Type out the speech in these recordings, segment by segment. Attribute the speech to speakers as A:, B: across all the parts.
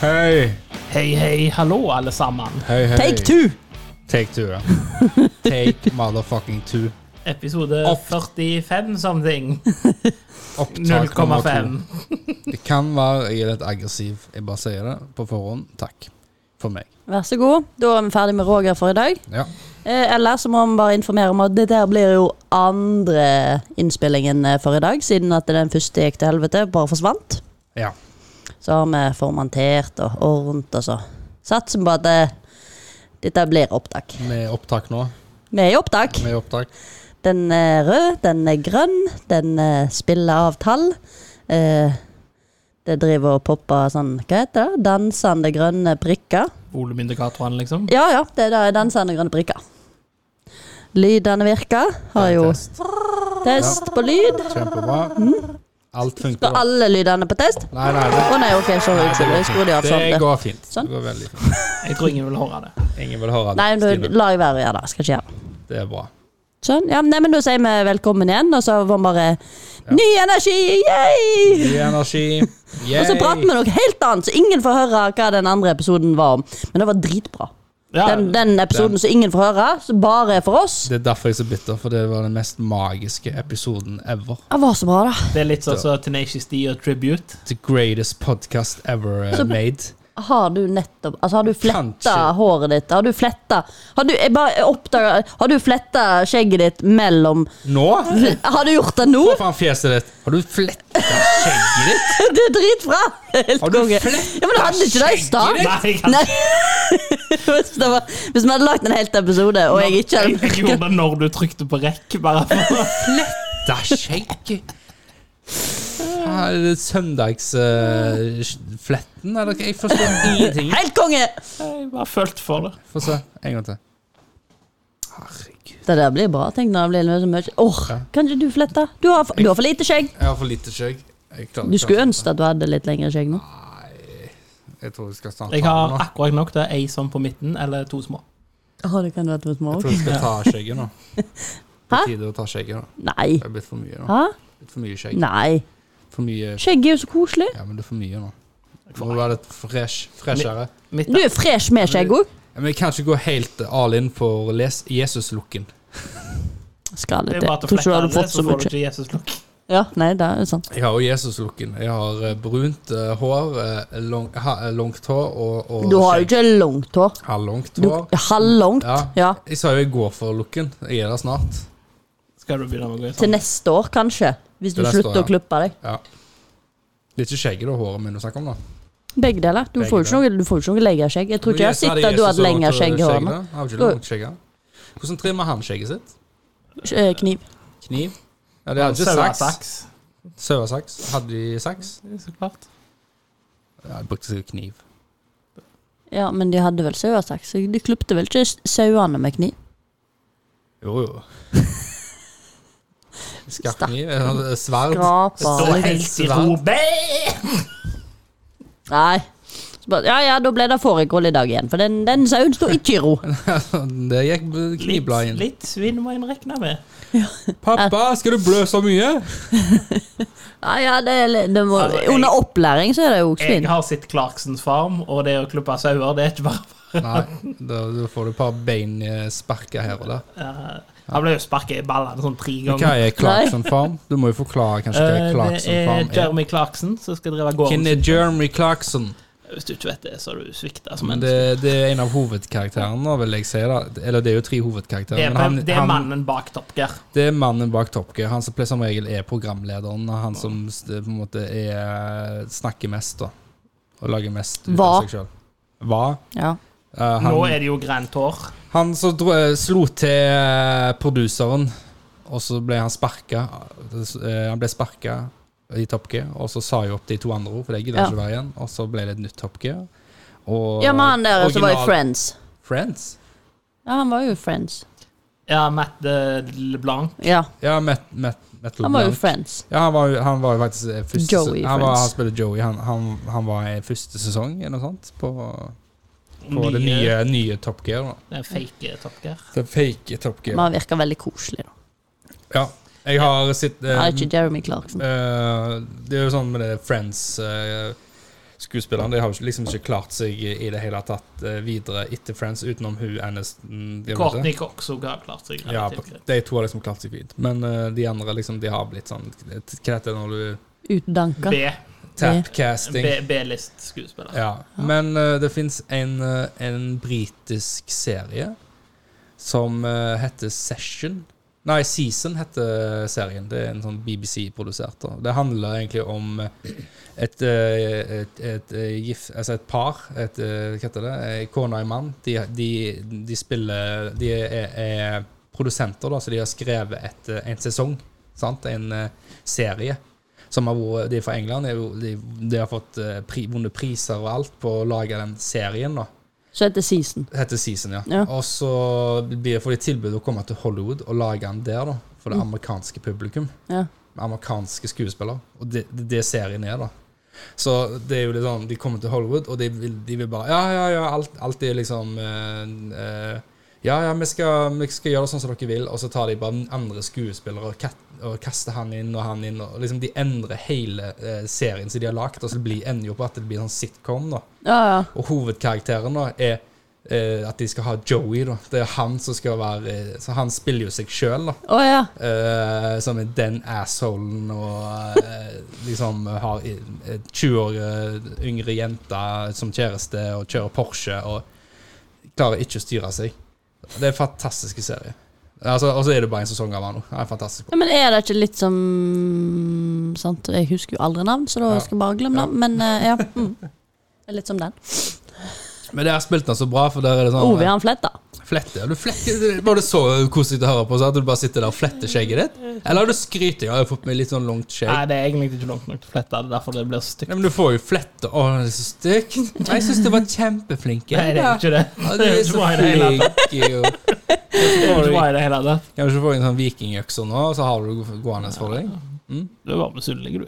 A: Hei,
B: Hei, hei, hallo, alle sammen.
A: hei, hei.
C: Take two!
A: Take two, ja. Take motherfucking two.
B: Episode
A: Opp.
B: 45 something.
A: Opptak nummer
B: 0,5.
A: to. Det kan være jeg er litt aggressiv. Jeg bare sier det på forhånd. Takk for meg.
C: Vær så god. Da er vi ferdig med Roger for i dag.
A: Ja.
C: Eh, Eller så må vi bare informere om at det der blir jo andre innspillingen eh, for i dag, siden at den første gikk til helvete, bare forsvant.
A: ja.
C: Så har vi formantert og ordnet og så. Satser på at eh, dette blir opptak.
A: Vi er i opptak nå.
C: Vi er i opptak.
A: Vi er i opptak.
C: Den er rød, den er grønn, den eh, spiller av tall. Eh, Det driver og popper sånn, hva heter det? Dansende grønne prikker.
B: Volumindikatorene, liksom.
C: Ja, ja. Det der er dansende grønne prikker. Lydene virker. Har jo
A: Test.
C: test på lyd.
A: Kjempebra. Alt
C: Står
A: funker. bra.
C: alle lydene på test?
A: Nei, nei,
C: Å
A: det,
C: nei, ok, sorry. unnskyld, Jeg skrur de av. Sånn.
A: det
C: det.
A: går fint.
C: Sånn.
A: Det går veldig fint.
B: Jeg tror ingen vil høre det.
A: Ingen vil høre
C: Nei,
A: det.
C: men da
A: Stine.
C: lar jeg være å gjøre det. Skal ikke gjøre det.
A: Det er bra.
C: Sånn. Ja, nei, men da sier vi velkommen igjen, og så var vi bare Ny energi! Yay!
A: Ny energi. Yay.
C: Og så prater vi noe helt annet, så ingen får høre hva den andre episoden var om. Men det var dritbra.
B: Ja,
C: Den, den episoden som ingen får høre, som bare er for oss,
A: Det er derfor jeg er så bitter, for det var den mest magiske episoden ever.
C: det var så bra, da.
B: det er litt sånn som Tenacious D og Tribute.
A: The greatest podcast ever eh,
C: Så-
A: made.
C: Har du nettopp Altså, har du fletta
A: Kanskje.
C: håret ditt? Har du fletta Har du jeg bare oppdaga Har du fletta skjegget ditt mellom
A: Nå?
C: Har du gjort det nå?
A: Hva faen fjeset ditt? Har du fletta skjegget ditt?
C: Det er dritbra! Helt
A: Har du
C: konge.
A: fletta
C: Ja, men du hadde ikke det i stad?
B: Nei, jeg,
C: Nei. Hvis det var- hvis vi hadde lagt en helt episode, og jeg ikke
B: jeg,
C: hadde
B: jeg gjorde det når du trykte på rekk, bare for
A: Da skjegget? Ah, er det eh, Søndagsfletten, eller hva? Jeg forstår ingenting.
C: Helt konge!
B: Jeg bare følte for det.
A: Få se. En gang til. Herregud.
C: Det der blir bra. Tenk når det blir så mye Åh,
A: Ja.
C: Kan ikke du flette? Du har, for- du har for lite skjegg.
A: Jeg har for lite skjegg. Jeg klarer-
C: Du skulle
A: klarer-
C: ønske at du hadde litt lengre skjegg nå.
A: Jeg tror jeg skal snart
B: Jeg
A: ta
B: har
A: det nå.
B: akkurat nok til ei sånn på midten, eller to små.
C: Åh, det kan vært litt
A: Jeg
C: små.
A: tror jeg skal ta skjegget nå. På
C: Hæ?
A: tide å ta skjegget nå.
C: Nei.
A: Det er blitt for mye nå.
C: Hæ?
A: Litt for mye skjegg.
C: Nei.
A: For mye skjegg.
C: Skjegg er jo så koselig.
A: Ja, men det er for mye nå. Det må være litt fresh, freshere.
B: Midt
C: Du er fresh med skjegg òg.
A: Ja, Men jeg kan ikke gå helt all in for les- Jesus-looken.
C: Skal
B: det
C: det
B: er bare
C: til.
B: til
C: Tror
B: å
C: ikke du
B: flette
C: hadde
B: alle,
C: fått
B: så
C: så
B: får
C: mye
B: du
C: skjegg.
B: ikke Jesus-look.
C: Ja, nei, det er sant.
A: Jeg har jo Jesus-looken. Jeg har eh, brunt eh, hår, eh, lang, ha, eh, langt hår og, og
C: Du har jo ikke langt hår.
A: Halvlangt
C: Du,
A: hår.
C: halvlangt.
A: Ja.
C: Ja.
A: Jeg sa jo jeg går for looken. Jeg er der snart.
B: Skal du begynne med å gå i
C: Til
B: sånn?
C: neste år, kanskje. Hvis du
A: Til neste
C: slutter
A: år,
C: å
A: ja.
C: klippe deg.
A: Ja. Det er ikke skjegget og håret min du snakker om, da.
C: Begge deler. Du
A: Begge
C: får jo ikke noe, du får jo ikke noe lengre skjegg. Jeg tror ikke jeg har sett at du har hatt lengre skjegg i håret.
A: Han har jo ikke langt skjegg. da. Hvordan trimmer han skjegget sitt?
C: Eh, Kniv.
A: Kniv? Ja, de hadde ikke saks.
B: Sauesaks,
A: Sauesaks. Hadde de saks?
B: så klart.
A: Ja, de brukte sikkert kniv.
C: Ja, men de hadde vel sauesaks. så De klipte vel ikke s- sauene med kniv?
A: Jo, jo. Skarp kniv? eh, Sverd?
B: Stå
C: Skrapa
B: helt i ro. Bæ!
C: Nei. Så bare, Ja ja, da ble det fårikål i dag igjen. For den, den sauen står ikke i ro.
A: Det gikk knivbladet
B: Litt,
A: inn.
B: litt svinn må en regne med.
A: Pappa, skal du blø så mye?
C: Ja ja, det, er li- det må,
B: Altså, jeg-
C: under opplæring så er det jo svinn.
B: Jeg har sett Clarksons farm, og det å klippe sauer, det er ikke bare
A: Nei, da, da får du et par beinsparker her og der.
B: Eh, Han ble jo sparket i ballene sånn tre
A: Men Hva
B: ganger.
A: er Clarkson Farm? Du må jo forklare kanskje hva
B: Eh, det
A: Clarkson
B: er
A: Farm er.
B: Jeremy Clarkson som skal drive gården.
A: Hvem er Jeremy Clarkson?
B: Hvis du ikke vet det, så har du svikta som
A: Men
B: menneske.
A: det, det er en av hovedkarakterene, nå, vil jeg si. da Eller det er jo tre hovedkarakterer.
B: Det er,
A: men han-
B: det er
A: han-
B: mannen bak Top Gear.
A: Det er mannen bak Top Gear. Han som ple- som regel er programlederen. og Han som s- på en måte er, snakker mest, da. Og lager mest ut
C: Hva?
A: av seg sjøl. Hva?
C: Ja.
A: Eh, han,
B: Nå er det jo grønt hår.
A: Han som dro, eh, slo til eh, produseren, og så ble han sparka. Eh, Han ble sparka i Top Gear, og så sa jo opp de to andre, for det gidder
C: Ja.
A: ikke være igjen. Og så ble det et nytt Top Gear. Og
C: ja, men han der som var i
A: original-
C: Friends.
A: Friends?
C: Ja, han var jo i Friends.
B: Ja, Matt eh, LeBlanc.
C: Ja,
A: Ja, Met, Met, Metal
C: han var jo i
A: Blanc.
C: Friends.
A: Ja, han var, jo- han var jo faktisk eh, første
C: Joey
A: han, var,
C: Friends.
A: han spiller Joey. Han, han, han var i første sesong eller noe sånt på, på det
B: Nye-
A: nye, nye Top Gear. Da.
B: det er fake Top Gear.
A: Det fake Top
C: Men
A: Gear.
C: han virker veldig koselig, da.
A: Ja. Jeg har sett
C: Han
A: eh,
C: er ikke Jeremy Clarkson.
A: eh, Det er jo sånn med det Friends eh, skuespillerne de har jo ikke- liksom ikke klart seg i det hele tatt eh, videre etter Friends, utenom hun Aniston. gjør hun ikke det?
B: Courtney Cox også har klart seg
A: Ja,
B: relativt greit.
A: de to har liksom klart seg fint. Men eh, de andre liksom, de har blitt sånn Hva heter det når du
C: Utdanka.
B: B-
A: Tapcasting.
B: B- B-list-skuespiller.
A: Ja. Men eh, det fins en, eh, en britisk serie som eh, heter Session. Nei, Season heter serien. Det er en sånn BBC-produsert. da. Det handler egentlig om eh, et, eh, et, et, eh, gif- altså et par, et, eh, hva heter det, en kone og en mann. De, de, de spiller De er, er produsenter, da, så de har skrevet et, eh, en sesong. Sant? En eh, serie som har vært, de er fra England. De, er jo- de, de har fått eh, pri, vunnet priser og alt på å lage den serien. da.
C: Så heter Season.
A: Det heter Season, ja.
C: Ja.
A: Og så blir- får de tilbud å komme til Hollywood og lage den der, da. For det amerikanske publikum.
C: Ja.
A: Amerikanske skuespillere. Og det, det, det serien er, da. Så det er jo litt sånn, de kommer til Hollywood, og de vil, de vil bare Ja, ja, ja, alt, alt er liksom eh, eh, Ja, ja, vi skal, vi skal gjøre det sånn som dere vil, og så tar de bare den andre skuespillere og, kat, og kaster han inn og han inn, og liksom de endrer hele eh, serien som de har lagd, og så blir, ender jo på at det blir sånn sitcom, da.
C: Ja, ja.
A: Og hovedkarakteren da er eh, at de skal ha Joey, da. Det er han som skal være eh, Så han spiller jo seg sjøl, da.
C: Å ja.
A: Eh, som er den assholen og eh, liksom har i- eh, 20 år eh, yngre jente som kjæreste og kjører Porsche og klarer ikke å styre seg. Det er en fantastisk serie. Altså, og så er det bare en sesong av han nå. Han er fantastisk.
C: Ja, men er det ikke litt som sant? Jeg husker jo aldri navn, så da
A: Ja.
C: skal jeg bare glemme
A: Ja.
C: navn. Men eh, ja. Mm. Det er Litt som den.
A: Men der spilte han så bra, for der er det sånn
B: Oh,
C: Ove han fletta.
A: Flette. ja, Du fletter, var det så koselig å høre på, så at du bare sitter der og fletter skjegget ditt? Eller har du skrytt? Jeg har jo fått meg litt sånn langt skjegg.
B: Nei, det er egentlig ikke langt nok til å flette. Det er derfor det blir stygt.
A: Nei, men du får jo flette. Å, det er så stygt. Nei, Jeg syns du var kjempeflink.
B: Nei, det er
A: Ja,
B: ikke det.
A: Ja,
B: Det
A: du
B: er
A: er
B: ikke
A: så
B: bra i det hele
A: flink. jo.
B: Det er ikke bra i det hele tatt.
A: Kan du ikke få en sånn vikingøkse nå, og så har du det gående for deg?
B: Du er bare misunnelig, du.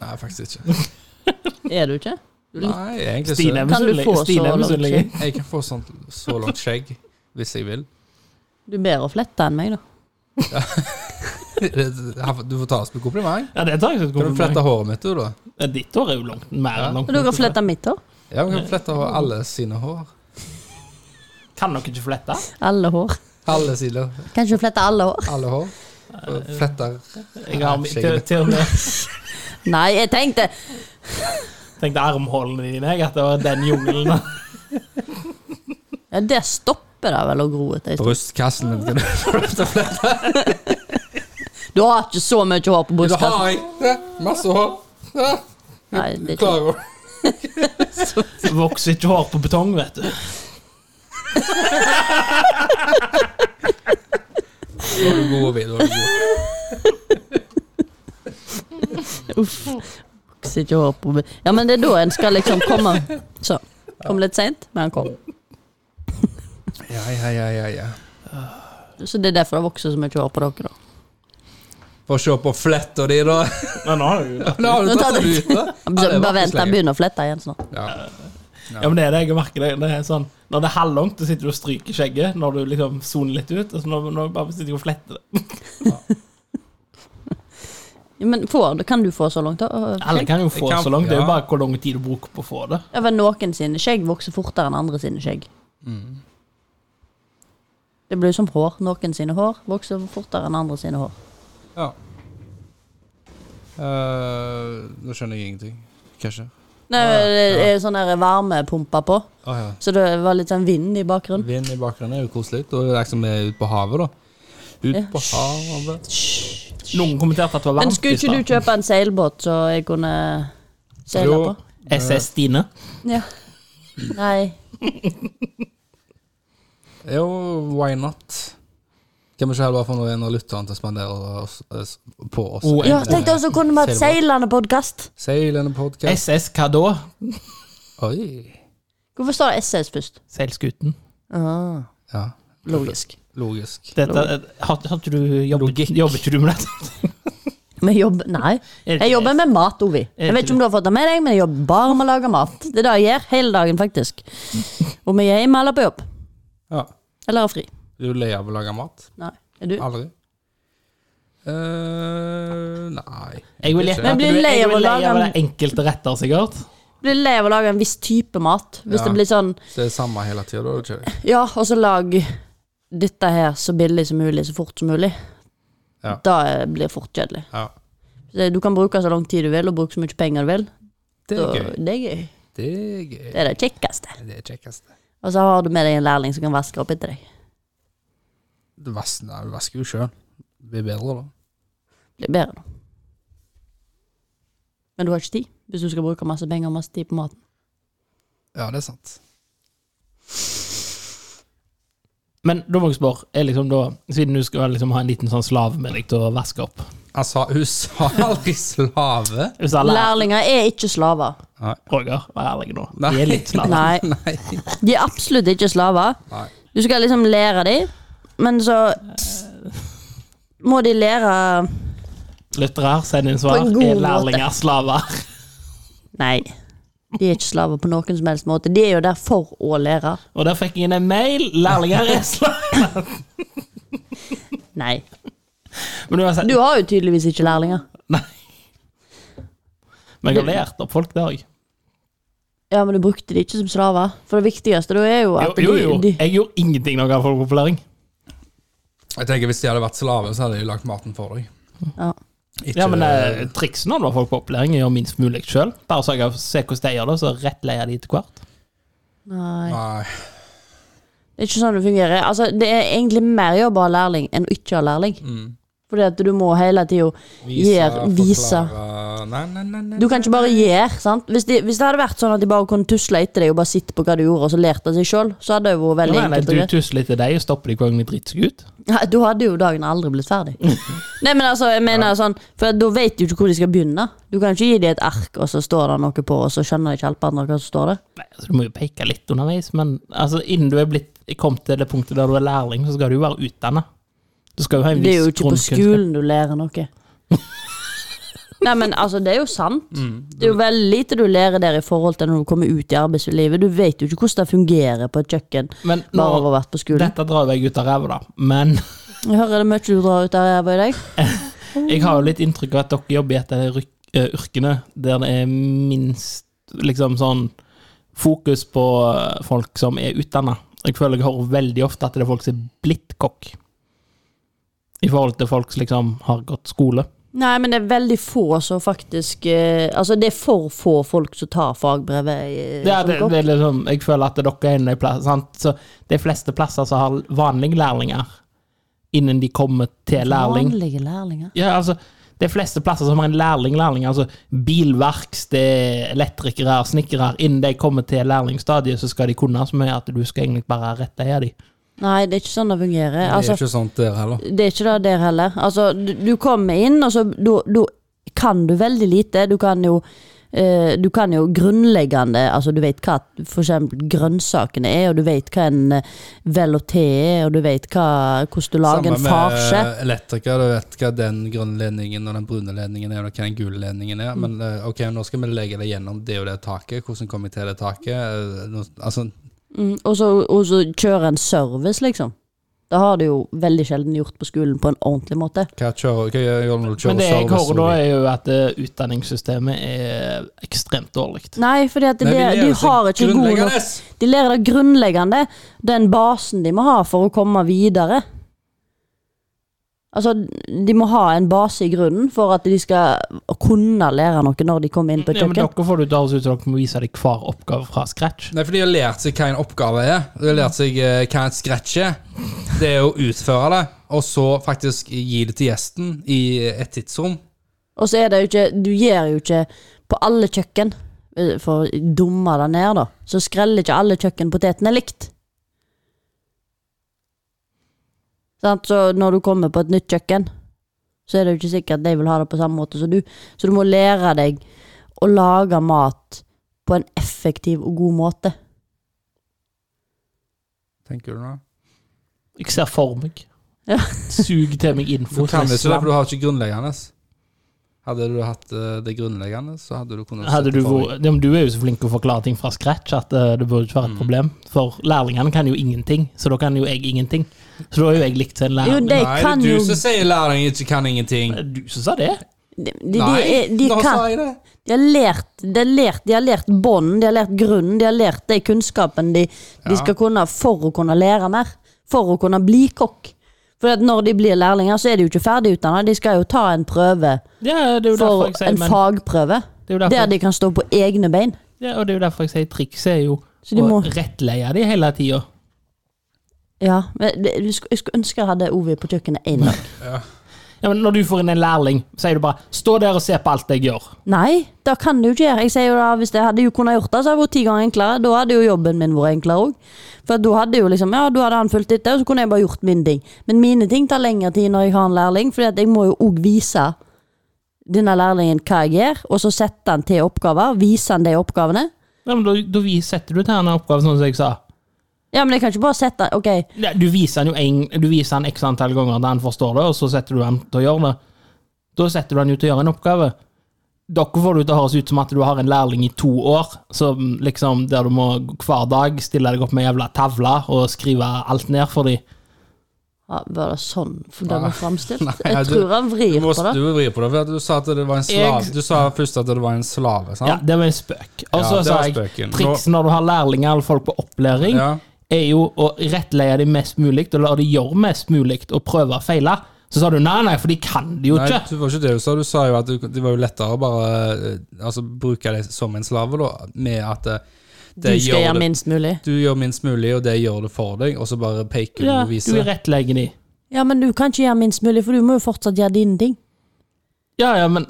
A: Nei, faktisk ikke.
C: Er du ikke?
A: Nei, egentlig
B: Stine
A: så
B: er
C: Kan du
B: misunnelig.
C: få så
B: Stine er
C: langt
B: misunnelig.
C: skjegg?
A: Jeg kan få sånt, så langt skjegg hvis jeg vil.
C: Du er bedre å flette enn meg, da.
A: Du får ta oss på kompliment.
B: Ja, det tar jeg som et
A: Kan du flette håret
B: kompliment.
A: mitt, du, da?
B: Ja, Ditt hår er jo langt mer
A: Ja.
B: enn langt.
C: Men du kan
B: nok.
C: flette mitt hår.
A: Ja, vi kan flette hår, alle sine hår.
B: Kan dere ikke flette?
C: Alle hår.
A: Alle sine
C: Kan ikke du flette alle hår?
A: Alle hår. Fletter.
B: Jeg har
A: Nei,
B: til, til og med
C: Nei, jeg tenkte
B: tenkte armhålene dine, jeg, at det var den jungelen.
C: Ja, der stopper det vel å gro etter en stund.
A: Brystkassen min kan du flette. flette.
C: Du har ikke så mye hår på
A: Da har
C: brystkassen.
A: jeg ja, masse hår. Ja,
C: Nei, det er ikke.
A: Klarer å
B: Vokser ikke hår på betong, vet du.
A: Nå er du god, Ovid. nå er du god.
C: Vokser ikke hår på be- Ja, men det er da en skal liksom komme. Så. Kom litt seint, men han kom.
A: Ja, ja, ja, ja, ja.
C: Så det er derfor det vokser så mye hår på dere, da.
A: Få se på fletta di, da.
B: Men nå har du jo
A: Nå har du
C: Nå tar
A: tatt den
C: du-
A: ut, da. Ja, det
C: Bare
A: var
C: bare vent,
A: ikke så
C: han
A: lenge.
C: begynner å flette igjen snart.
A: Ja.
B: Ja, men det er det jeg merker. Det, det er sånn, når det er halvlangt, så sitter du og stryker skjegget når du liksom soner litt ut. Og så når, når du bare sitter og fletter det.
C: Ja, Men får, du- kan du få så langt, da? øh,
B: Alle kan jo få
A: Jeg kan-
B: så langt. Det er
A: ja.
B: jo bare hvor lang tid du bruker på å få det.
C: Ja, men noen sine skjegg vokser fortere enn andre sine skjegg.
A: Mm.
C: Det blir jo som hår. Noen sine hår vokser fortere enn andre sine hår.
A: Ja. Eh, nå skjønner jeg ingenting. Hva skjer?
C: Nei, det er sånn der varmepumper på,
A: Å, ja.
C: så det var litt sånn vind i bakgrunnen.
A: Vind i bakgrunnen er jo koselig. Da er det liksom vi er ute på havet, da. Ut
C: Ja.
A: på havet.
B: Noen kommenterte at det var
C: Men
B: varmt.
C: skulle ikke du kjøpe en seilbåt så jeg kunne seile
A: Jo.
C: på?
B: SS Stine.
C: Ja. Nei.
A: Jo, why not? Kan vi ikke heller bare få noen av lytterne til å spandere oss, oss, på oss?
B: O-
C: Ja, tenk deg så kunne vi hatt seilende podkast.
A: Seilende podkast.
B: SS hva da?
A: Oi.
C: Hvorfor står det SS først?
B: Seilskuten.
C: Ah,
A: Ja,
C: logisk.
A: logisk.
B: Dette, har, har ikke du jobbet,
A: Logikk.
B: jobber ikke du med dette?
C: Men jobb... Nei.
B: Er det
C: Jeg
B: ikke
C: jobber med mat, Ovi.
B: det
C: Jeg vet
B: ikke
C: ikke om du har fått det med deg, men jeg jobber bare med å lage mat. Det er det jeg gjør hele dagen, faktisk. Om jeg er hjemme eller på jobb.
A: Ja.
C: Eller har fri.
A: Er du lei av å lage mat?
C: Nei. Er du?
A: Aldri? Eh, nei.
B: Jeg vil gjette
A: Men
B: at
C: blir
B: du-
C: lei
B: jeg
C: av å
B: vil lei
C: lage
B: av
C: en-
B: det enkelte retter, sikkert.
C: blir lei av å lage en viss type mat. Hvis
A: Ja.
C: det blir sånn
A: Så det er samme hele tida, da? er det Ikke? det?
C: Ja, og så lag dette her så billig som mulig, så fort som mulig.
A: Ja.
C: Da eh, blir det fort kjedelig.
A: Ja.
C: Det- Du kan bruke så lang tid du vil, og bruke så mye penger du vil.
A: Det er
C: Da-
A: gøy.
C: Det er gøy.
A: Det er gøy.
C: Det er det kjekkeste.
A: Det er kjekkeste.
C: Og så har du med deg en lærling som kan vaske opp etter deg.
A: Du vas- nei, du vasker jo sjøl. Det blir bedre, da.
C: Det blir bedre, da. Men du har ikke tid, hvis du skal bruke masse penger og masse tid på maten.
A: Ja, det er sant.
B: Men da må jeg spørre, er liksom da, siden du skal liksom ha en liten sånn slave med deg til å vaske opp
A: Han sa hun sa aldri slave.
B: Du sa lær,
C: Lærlinger er ikke slaver.
B: Roger, vær ærlig nå.
A: Nei.
B: De er litt slave.
C: Nei,
A: Nei.
C: de er absolutt ikke slaver.
A: Nei.
C: Du skal liksom lære dem, men så
A: Eh.
C: må de lære
B: Lyttere, send inn svar.
C: På en god
B: Er
C: måte.
B: lærlinger slaver?
C: Nei. De er ikke slaver på noen som helst måte. De er jo der for å lære.
B: Og der fikk jeg inn en mail. Lærlinger er slaver.
C: Nei.
B: Men uansett,
C: Du har jo tydeligvis ikke lærlinger.
B: men jeg har lært opp folk der òg.
C: Ja, men du brukte de ikke som slaver. For det viktigste da er jo
B: Jo,
C: at
B: jo, jo.
C: de, de
B: Jeg gjorde ingenting når jeg hadde folkeopplæring.
A: Jeg tenker Hvis de hadde vært slave, så hadde de lagd maten for deg.
C: ja.
A: Ikke,
B: Ja, men eh, trikset når det var folk på opplæring, er å gjøre minst mulig sjøl. Bare så jeg ser hvordan de gjør det, så rettleier de etter hvert.
C: Nei.
A: Nei.
C: Det er ikke sånn det fungerer. Altså, det er egentlig mer jobb å ha lærling enn å ikke ha lærling.
A: Mm.
C: Fordi at du må hele tida Gjør, vise.
A: forklare. Nei, nei, nei, nei.
C: Du kan ikke bare gjøre, sant. Hvis, de, hvis det hadde vært sånn at de bare kunne tusle etter deg og bare sitte på hva du gjorde, og så lærte av seg sjøl, så hadde det jo vært veldig
B: Nei, nei,
C: enkelt.
B: du
C: og greit.
B: tusler litt til deg og stopper de hver gang de driter seg ut.
C: Nei, Da hadde jo dagen aldri blitt ferdig. Nei, men altså, jeg mener sånn For da vet du ikke hvor de skal begynne. Du kan ikke gi dem et ark, og så står det noe på, og så skjønner de ikke halvparten av hva som står der.
B: Nei, altså, du må jo peke litt underveis, men altså, innen du er blitt kommet til det punktet der du er lærling, så skal du jo være utdanna. Du skal jo ha en
C: Det er
B: viss
C: jo ikke på
B: grunnkunnskap.
C: skolen du lærer noe. Nei, men altså, det er jo sant. Mm, Det er jo veldig lite du lærer der i forhold til når du kommer ut i arbeidslivet. Du vet jo ikke hvordan det fungerer på et kjøkken
B: Men nå,
C: bare av å ha vært på skolen.
B: dette drar jo jeg ut av ræva, da. Men
C: Jeg hører det mye du drar ut av ræva i dag.
B: jeg har jo litt inntrykk av at dere jobber i et av de ryk- eh, yrkene der det er minst liksom sånn fokus på eh, folk som er utdanna. Jeg føler jeg hører veldig ofte at det er folk som er blitt kokk. I forhold til folk som liksom har gått skole.
C: Nei, men det er veldig få som faktisk eh, Altså, det er for få folk som tar fagbrevet eh,
B: Ja,
C: som
B: det,
C: kokk.
B: det er liksom, jeg føler at dere er en av de plassene sant? Så De fleste plasser som har vanlige lærlinger innen de kommer til lærling
C: Vanlige lærlinger.
B: Ja, altså De fleste plasser som har en lærling-lærling, altså bilverksted, elektrikere, snekkere Innen de kommer til lærlingstadiet, så skal de kunne så mye at du skal egentlig bare rette i dem.
C: Nei, det er ikke sånn det fungerer.
A: Det
C: Altså,
A: er ikke sånt der heller.
C: det er ikke det der heller. Altså, du, du kommer inn, og så da da kan du veldig lite. Du kan jo eh, du kan jo grunnleggende altså Du vet hva for eksempel grønnsakene er, og du vet hva en eh, velouté er, og du vet hva, hvordan du lager en farse.
A: med elektriker. Du vet hva den grønne ledningen og den brune ledningen er, og hva den gule ledningen er.
C: Mm.
A: Men eh, ok, nå skal vi legge det gjennom det og det taket. Hvordan kommer jeg til det taket? Eh, nå- Altså,
C: Mm, og, så, og så kjøre en service, liksom. Det har du jo veldig sjelden gjort på skolen på en ordentlig måte.
A: hva kjører hva gjør du når du kjører
B: Men det jeg hører da,
A: service?
B: er jo at eh, utdanningssystemet er ekstremt dårlig.
C: Nei, fordi at det, de har ikke god nok De lærer det grunnleggende, den basen de må ha for å komme videre. Altså, de må ha en base i grunnen for at de skal kunne lære noe når de kommer inn på et
B: Ja, men
C: kjøkken.
B: dere får det til å høres ut som dere må vise deg hver oppgave fra scratch.
A: Nei, for de har lært seg hva en oppgave er. De har lært seg eh, hva en scratch er. Det er å utføre det, og så faktisk gi det til gjesten i et tidsrom.
C: Og så er det jo ikke Du gjør jo ikke på alle kjøkken, eh, for å dumme det ned, da, så skreller ikke alle kjøkken potetene likt. Sant? Så når du kommer på et nytt kjøkken, så er det jo ikke sikkert at de vil ha det på samme måte som du. Så du må lære deg å lage mat på en effektiv og god måte.
A: Tenker du nå?
B: Jeg ser for meg.
C: Ja.
B: Sug til meg
A: Du
B: info.
A: kan ikke
B: som er
A: det, for
B: slam.
A: du har ikke grunnleggende. Hadde du hatt eh, det grunnleggende, så hadde du kunnet
B: Hadde
A: sett
B: du,
A: det for deg.
B: vært- ja, men du er jo så flink til å forklare ting fra scratch at eh, det burde ikke være et problem. For lærlingene kan jo ingenting, så da kan jo jeg ingenting. Så da er jo jeg likt som
C: Jo,
B: en lærling.
C: de
A: Nei,
C: kan
A: det
C: jo
A: er du som sier lærling ikke kan ingenting.
B: Du som sa det?
C: De, de, de, er- de,
A: nå sa
C: kan,
A: jeg det!
C: de har lært, de har lært, de har lært bånd, de har lært grunnen, de har lært de kunnskapen de,
A: Ja.
C: de skal kunne for å kunne lære mer. For å kunne bli kokk. For at når de blir lærlinger, så er de jo ikke ferdigutdanna. De skal jo ta en prøve,
B: Ja, det er jo derfor
C: for
B: jeg sier
C: en
B: men,
C: fagprøve,
B: det er jo derfor,
C: der de kan stå på egne bein.
B: ja, Og det er jo derfor jeg sier trikset er jo
C: Så de
B: å
C: må-
B: rettleie de hele tida.
C: Ja, men det- Jeg skulle jeg skulle ønske jeg hadde Ovi på kjøkkenet én dag.
B: Ja, men når du får inn en lærling, sier du bare 'stå der og se på alt jeg gjør'.
C: Nei, det kan du ikke gjøre. Jeg sier jo da, Hvis jeg hadde jo kunnet gjort det, så hadde det vært ti ganger enklere. Da hadde jo jobben min vært enklere òg. For da hadde jo liksom, ja, da hadde han fulgt etter, og så kunne jeg bare gjort min ting. Men mine ting tar lengre tid når jeg har en lærling, fordi at jeg må jo òg vise denne lærlingen hva jeg gjør, og så sette han til oppgaver. Vise han de oppgavene.
B: Ja, men da, da vi- setter du til han en oppgave, sånn som jeg sa.
C: Ja, men jeg kan ikke bare sette han, ok,
B: Ja, Du viser han jo en, du viser han x antall ganger da han forstår det, og så setter du han til å gjøre det. Da setter du han jo til å gjøre en oppgave. Dere får det jo til å høres ut som at du har en lærling i to år, som liksom, der du må hver dag stille deg opp med en jævla tavle og skrive alt ned for dem.
C: ja, var det sånn for det
A: Nei.
C: var framstilt?
A: Nei,
C: Jeg
A: du-
C: tror han
A: Du
C: vrir
A: må
C: på det.
A: du må vri på det, for at du sa at det var en slave.
B: Jeg-
A: Du sa først at det var en slave, sant?
B: Ja, det var en spøk. Og så
A: Ja, det
B: sa
A: var
B: jeg
A: spøken.
B: triks når du har lærlinger eller folk på opplæring,
A: Ja.
B: er jo å rettleie dem mest mulig, og la dem gjøre mest mulig, og prøve og feile. Så sa du nei, nei, for de kan det jo
A: Nei,
B: ikke.
A: det var ikke det du sa. Du sa jo at du- det var jo lettere å bare eh, altså, bruke det som en slave, da, med at eh,
C: Du
A: det
C: skal
A: gjør
C: gjøre
A: det-
C: minst mulig.
A: du gjør minst mulig, og det gjør det for deg, og så bare peker
B: Ja,
A: du og
B: du
A: viser.
B: rettlegger dem.
C: Ja, men du kan ikke gjøre minst mulig, for du må jo fortsatt gjøre dine ting.
B: Ja, ja, men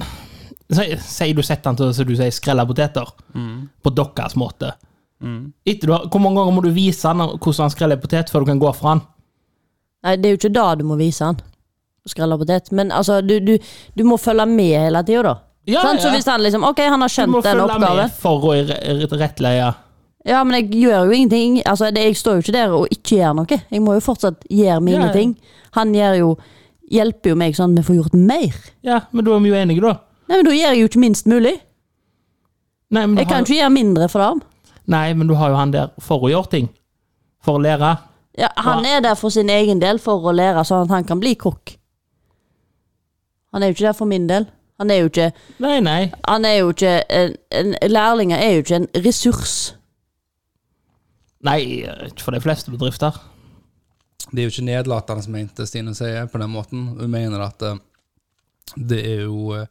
B: si- Si du setter den til så du sier skrella poteter,
A: Mm.
B: på deres måte. Etter du har, hvor mange ganger må du vise han hvordan han skreller potet før du kan gå fra han?
C: Nei, det er jo ikke da du må vise han. Skrella potet. Men altså, du, du, du må følge med hele tida, da.
B: Ja,
C: Sant? Så
B: ja.
C: hvis han liksom Ok, han har
B: Du må
C: skjønt den
B: følge
C: oppgaven.
B: med for å re- re- rettleie.
C: Ja, men jeg gjør jo ingenting. Altså, det, jeg står jo ikke der og ikke gjør noe. Jeg må jo fortsatt gjøre mine
B: Ja, ja.
C: ting. Han gjør jo Hjelper jo meg sånn at vi får gjort mer.
B: Ja, men da er vi jo enige, da.
C: Nei, men da gjør jeg jo ikke minst mulig.
B: Nei, men du,
C: Jeg kan
B: har,
C: ikke gjøre mindre for ham.
B: nei, men du har jo han der for å gjøre ting. For å lære.
C: Ja, han er der for sin egen del, for å lære sånn at han kan bli kokk. Han er jo ikke der for min del. Han er jo ikke
B: Nei, nei.
C: han er jo ikke en, en Lærlinger er jo ikke en ressurs.
B: Nei, ikke for de fleste bedrifter.
A: Det er jo ikke nedlatende som mente Stine sier på den måten. Hun mener at eh, det er jo eh,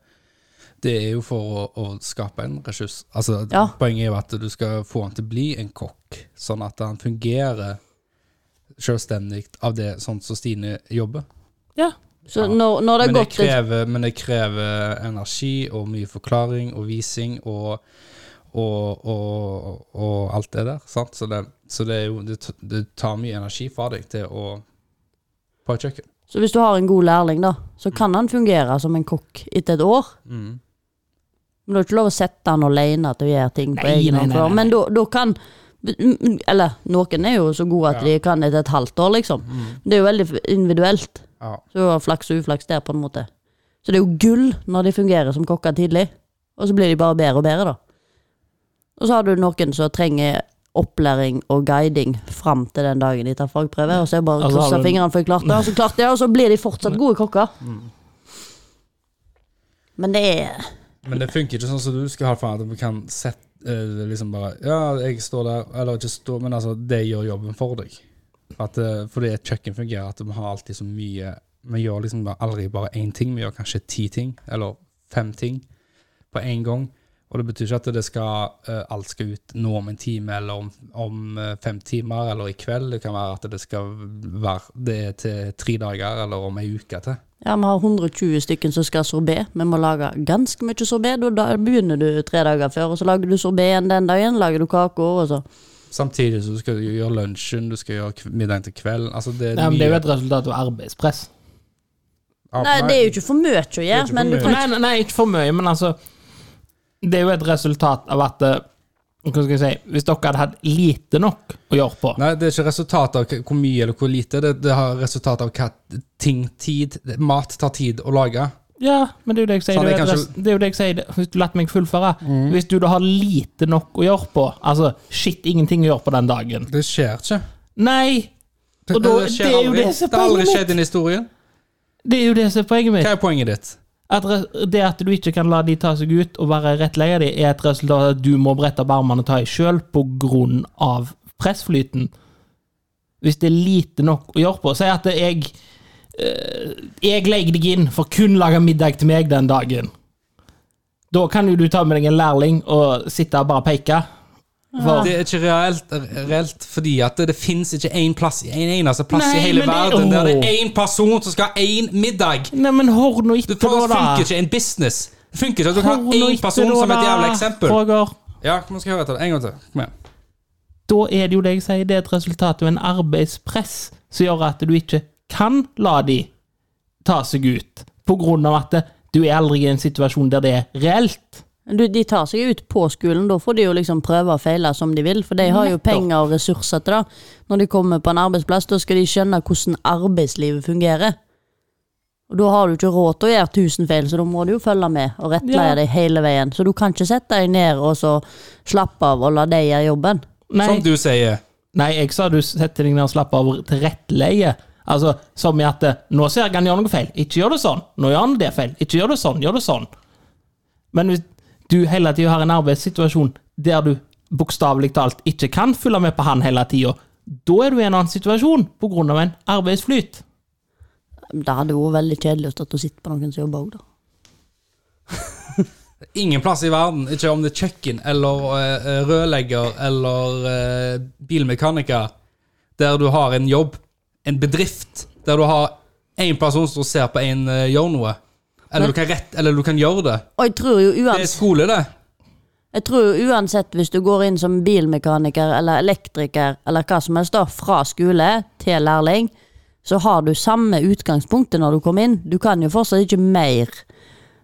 A: det er jo for å, å skape en ressurs. Altså,
C: Ja.
A: Poenget er jo at du skal få han til å bli en kokk, sånn at han fungerer selvstendig av det sånn som Stine jobber.
B: Ja.
C: Så når, når det har
A: Men det,
C: gått et
A: krever, men det krever energi og mye forklaring og vising og, og, og, og alt det der. Sant? Så, det, så det, er jo, det, t- det tar mye energi fra deg til å på et kjøkken.
C: Så hvis du har en god lærling, da, så kan han fungere som en kokk etter et år. Men du har ikke lov å sette han alene til å gjøre ting på
B: Nei,
C: egen
B: nei,
C: hånd.
B: nei,
C: for-
B: nei.
C: Men da da kan Eller noen er jo så gode at
A: Ja.
C: de kan etter et halvt år, liksom. Det er jo veldig individuelt.
A: Ja.
C: Så du har flaks og uflaks der, på en måte. Så det er jo gull når de fungerer som kokker tidlig. Og så blir de bare bedre og bedre, da. Og så har du noen som trenger opplæring og guiding fram til den dagen de tar fagprøve. Og så er det bare å
B: Altså, har
C: krysse
B: du-
C: fingrene for jeg klarte det, og så klarte jeg det, og så blir de fortsatt gode kokker. Men det er
A: Men det funker ikke sånn som du skal ha for at du kan sette eh, liksom bare Ja, jeg står der, eller ikke står, men altså, det gjør jobben for deg. At, eh, fordi et kjøkken fungerer, at vi har alltid så mye Vi gjør liksom bare aldri bare én ting, vi gjør kanskje ti ting, eller fem ting på én gang. Og det betyr ikke at det skal, eh, alt skal ut nå om en time, eller om, om eh, fem timer, eller i kveld. Det kan være at det skal være det er til tre dager, eller om ei uke til.
C: Ja, vi har 120 stykken som skal ha sorbet. Vi må lage ganske mye sorbet. Da, da begynner du tre dager før, og så lager du sorbet igjen den dagen. Lager du kaker, og så
A: Samtidig så du skal du gjøre lunsjen, du skal gjøre kv- middagen til kvelden. Altså det er
B: Nei, men det er jo
A: mye
B: et resultat av arbeidspress.
A: Ja,
C: Nei, det er jo ikke for mye å
A: er ikke
C: gjøre,
A: for
C: men du
A: mye.
C: kan
B: Nei, nei, nei, ikke for mye, men altså Det er jo et resultat av at eh, Hva skal jeg si Hvis dere hadde hatt lite nok å gjøre på
A: Nei, det er ikke resultatet av k- hvor mye eller hvor lite. Det, det har resultatet av hva ting tid det- Mat tar tid å lage.
B: Ja, men det er jo det jeg
A: Så
B: sier. Det er, jo
A: hadde jeg
B: et
A: Mm.
B: res- det er jo det jeg sier det- Hvis du latt meg fullføre Hvis du da har lite nok å gjøre på Altså, shit, ingenting å gjøre på den dagen
A: Det skjer ikke.
B: Nei! Og da, det,
A: skjer
B: er jo
A: aldri.
B: det som er
A: har aldri
B: poenget mitt.
A: skjedd i historien.
B: Det er jo det som er poenget mitt.
A: Hva er poenget ditt?
B: At re- det at du ikke kan la de ta seg ut og være rettleie de, er et resultat av at du må brette opp armene og ta i sjøl av pressflyten. Hvis det er lite nok å gjøre på. Si at jeg eh, Jeg legger deg inn for kun å lage middag til meg den dagen. Da kan jo du ta med deg en lærling og sitte og bare peke. For,
A: Det er ikke reelt, reelt fordi at det, det fins ikke én plass, en eneste plass
B: Nei,
A: i hele
B: men det-
A: verden der det
B: Åh.
A: er én person som skal ha én middag.
B: Nei, men hør nå
A: Det
B: etter,
A: for det
B: da.
A: funker ikke en business. Det funker ikke at du kan ha
B: Hør nå
A: én
B: etter
A: person
B: da,
A: som et
B: da,
A: jævla eksempel.
B: Roger.
A: Ja, nå skal jeg høre etter. En gang til. Kom igjen.
B: da er det jo det jeg sier, det er et resultat av en arbeidspress som gjør at du ikke kan la de ta seg ut, på grunn av at du er aldri i en situasjon der det er reelt.
C: Du, de tar seg ut på skolen, da får de jo liksom prøve og feile som de vil, for de har jo
B: Nettopp.
C: penger og ressurser til det. Når de kommer på en arbeidsplass, da skal de skjønne hvordan arbeidslivet fungerer. Og da har du ikke råd til å gjøre tusen feil, så da må du jo følge med og rettleie
B: Ja.
C: deg hele veien. Så du kan ikke sette deg ned og så slappe av og la deg gjøre jobben.
B: Nei,
A: Som du sier.
B: nei jeg sa du setter deg ned og slapper av til rettleie. Altså, som i at nå ser jeg han gjør noe feil, ikke gjør det sånn. Nå gjør han det feil, ikke gjør det sånn, gjør det sånn. Men hvis du hele tida har en arbeidssituasjon der du bokstavelig talt ikke kan følge med på han hele tida, da er du i en annen situasjon på grunn av en arbeidsflyt.
C: Det hadde vært veldig kjedelig å stå og sitte på noen som jobber òg, da.
A: Ingen plass i verden, ikke om det er kjøkken eller eh, rørlegger eller eh, bilmekaniker, der du har en jobb, en bedrift, der du har én person som ser på en eh, gjør noe. Eller du kan rett, eller du kan gjøre det.
C: Og jeg tror jo
A: Det er
C: uansett
A: skole, det.
C: Jeg tror jo uansett hvis du går inn som bilmekaniker eller elektriker eller hva som helst da, fra skole til lærling, så har du samme utgangspunktet når du kommer inn. Du kan jo fortsatt ikke mer.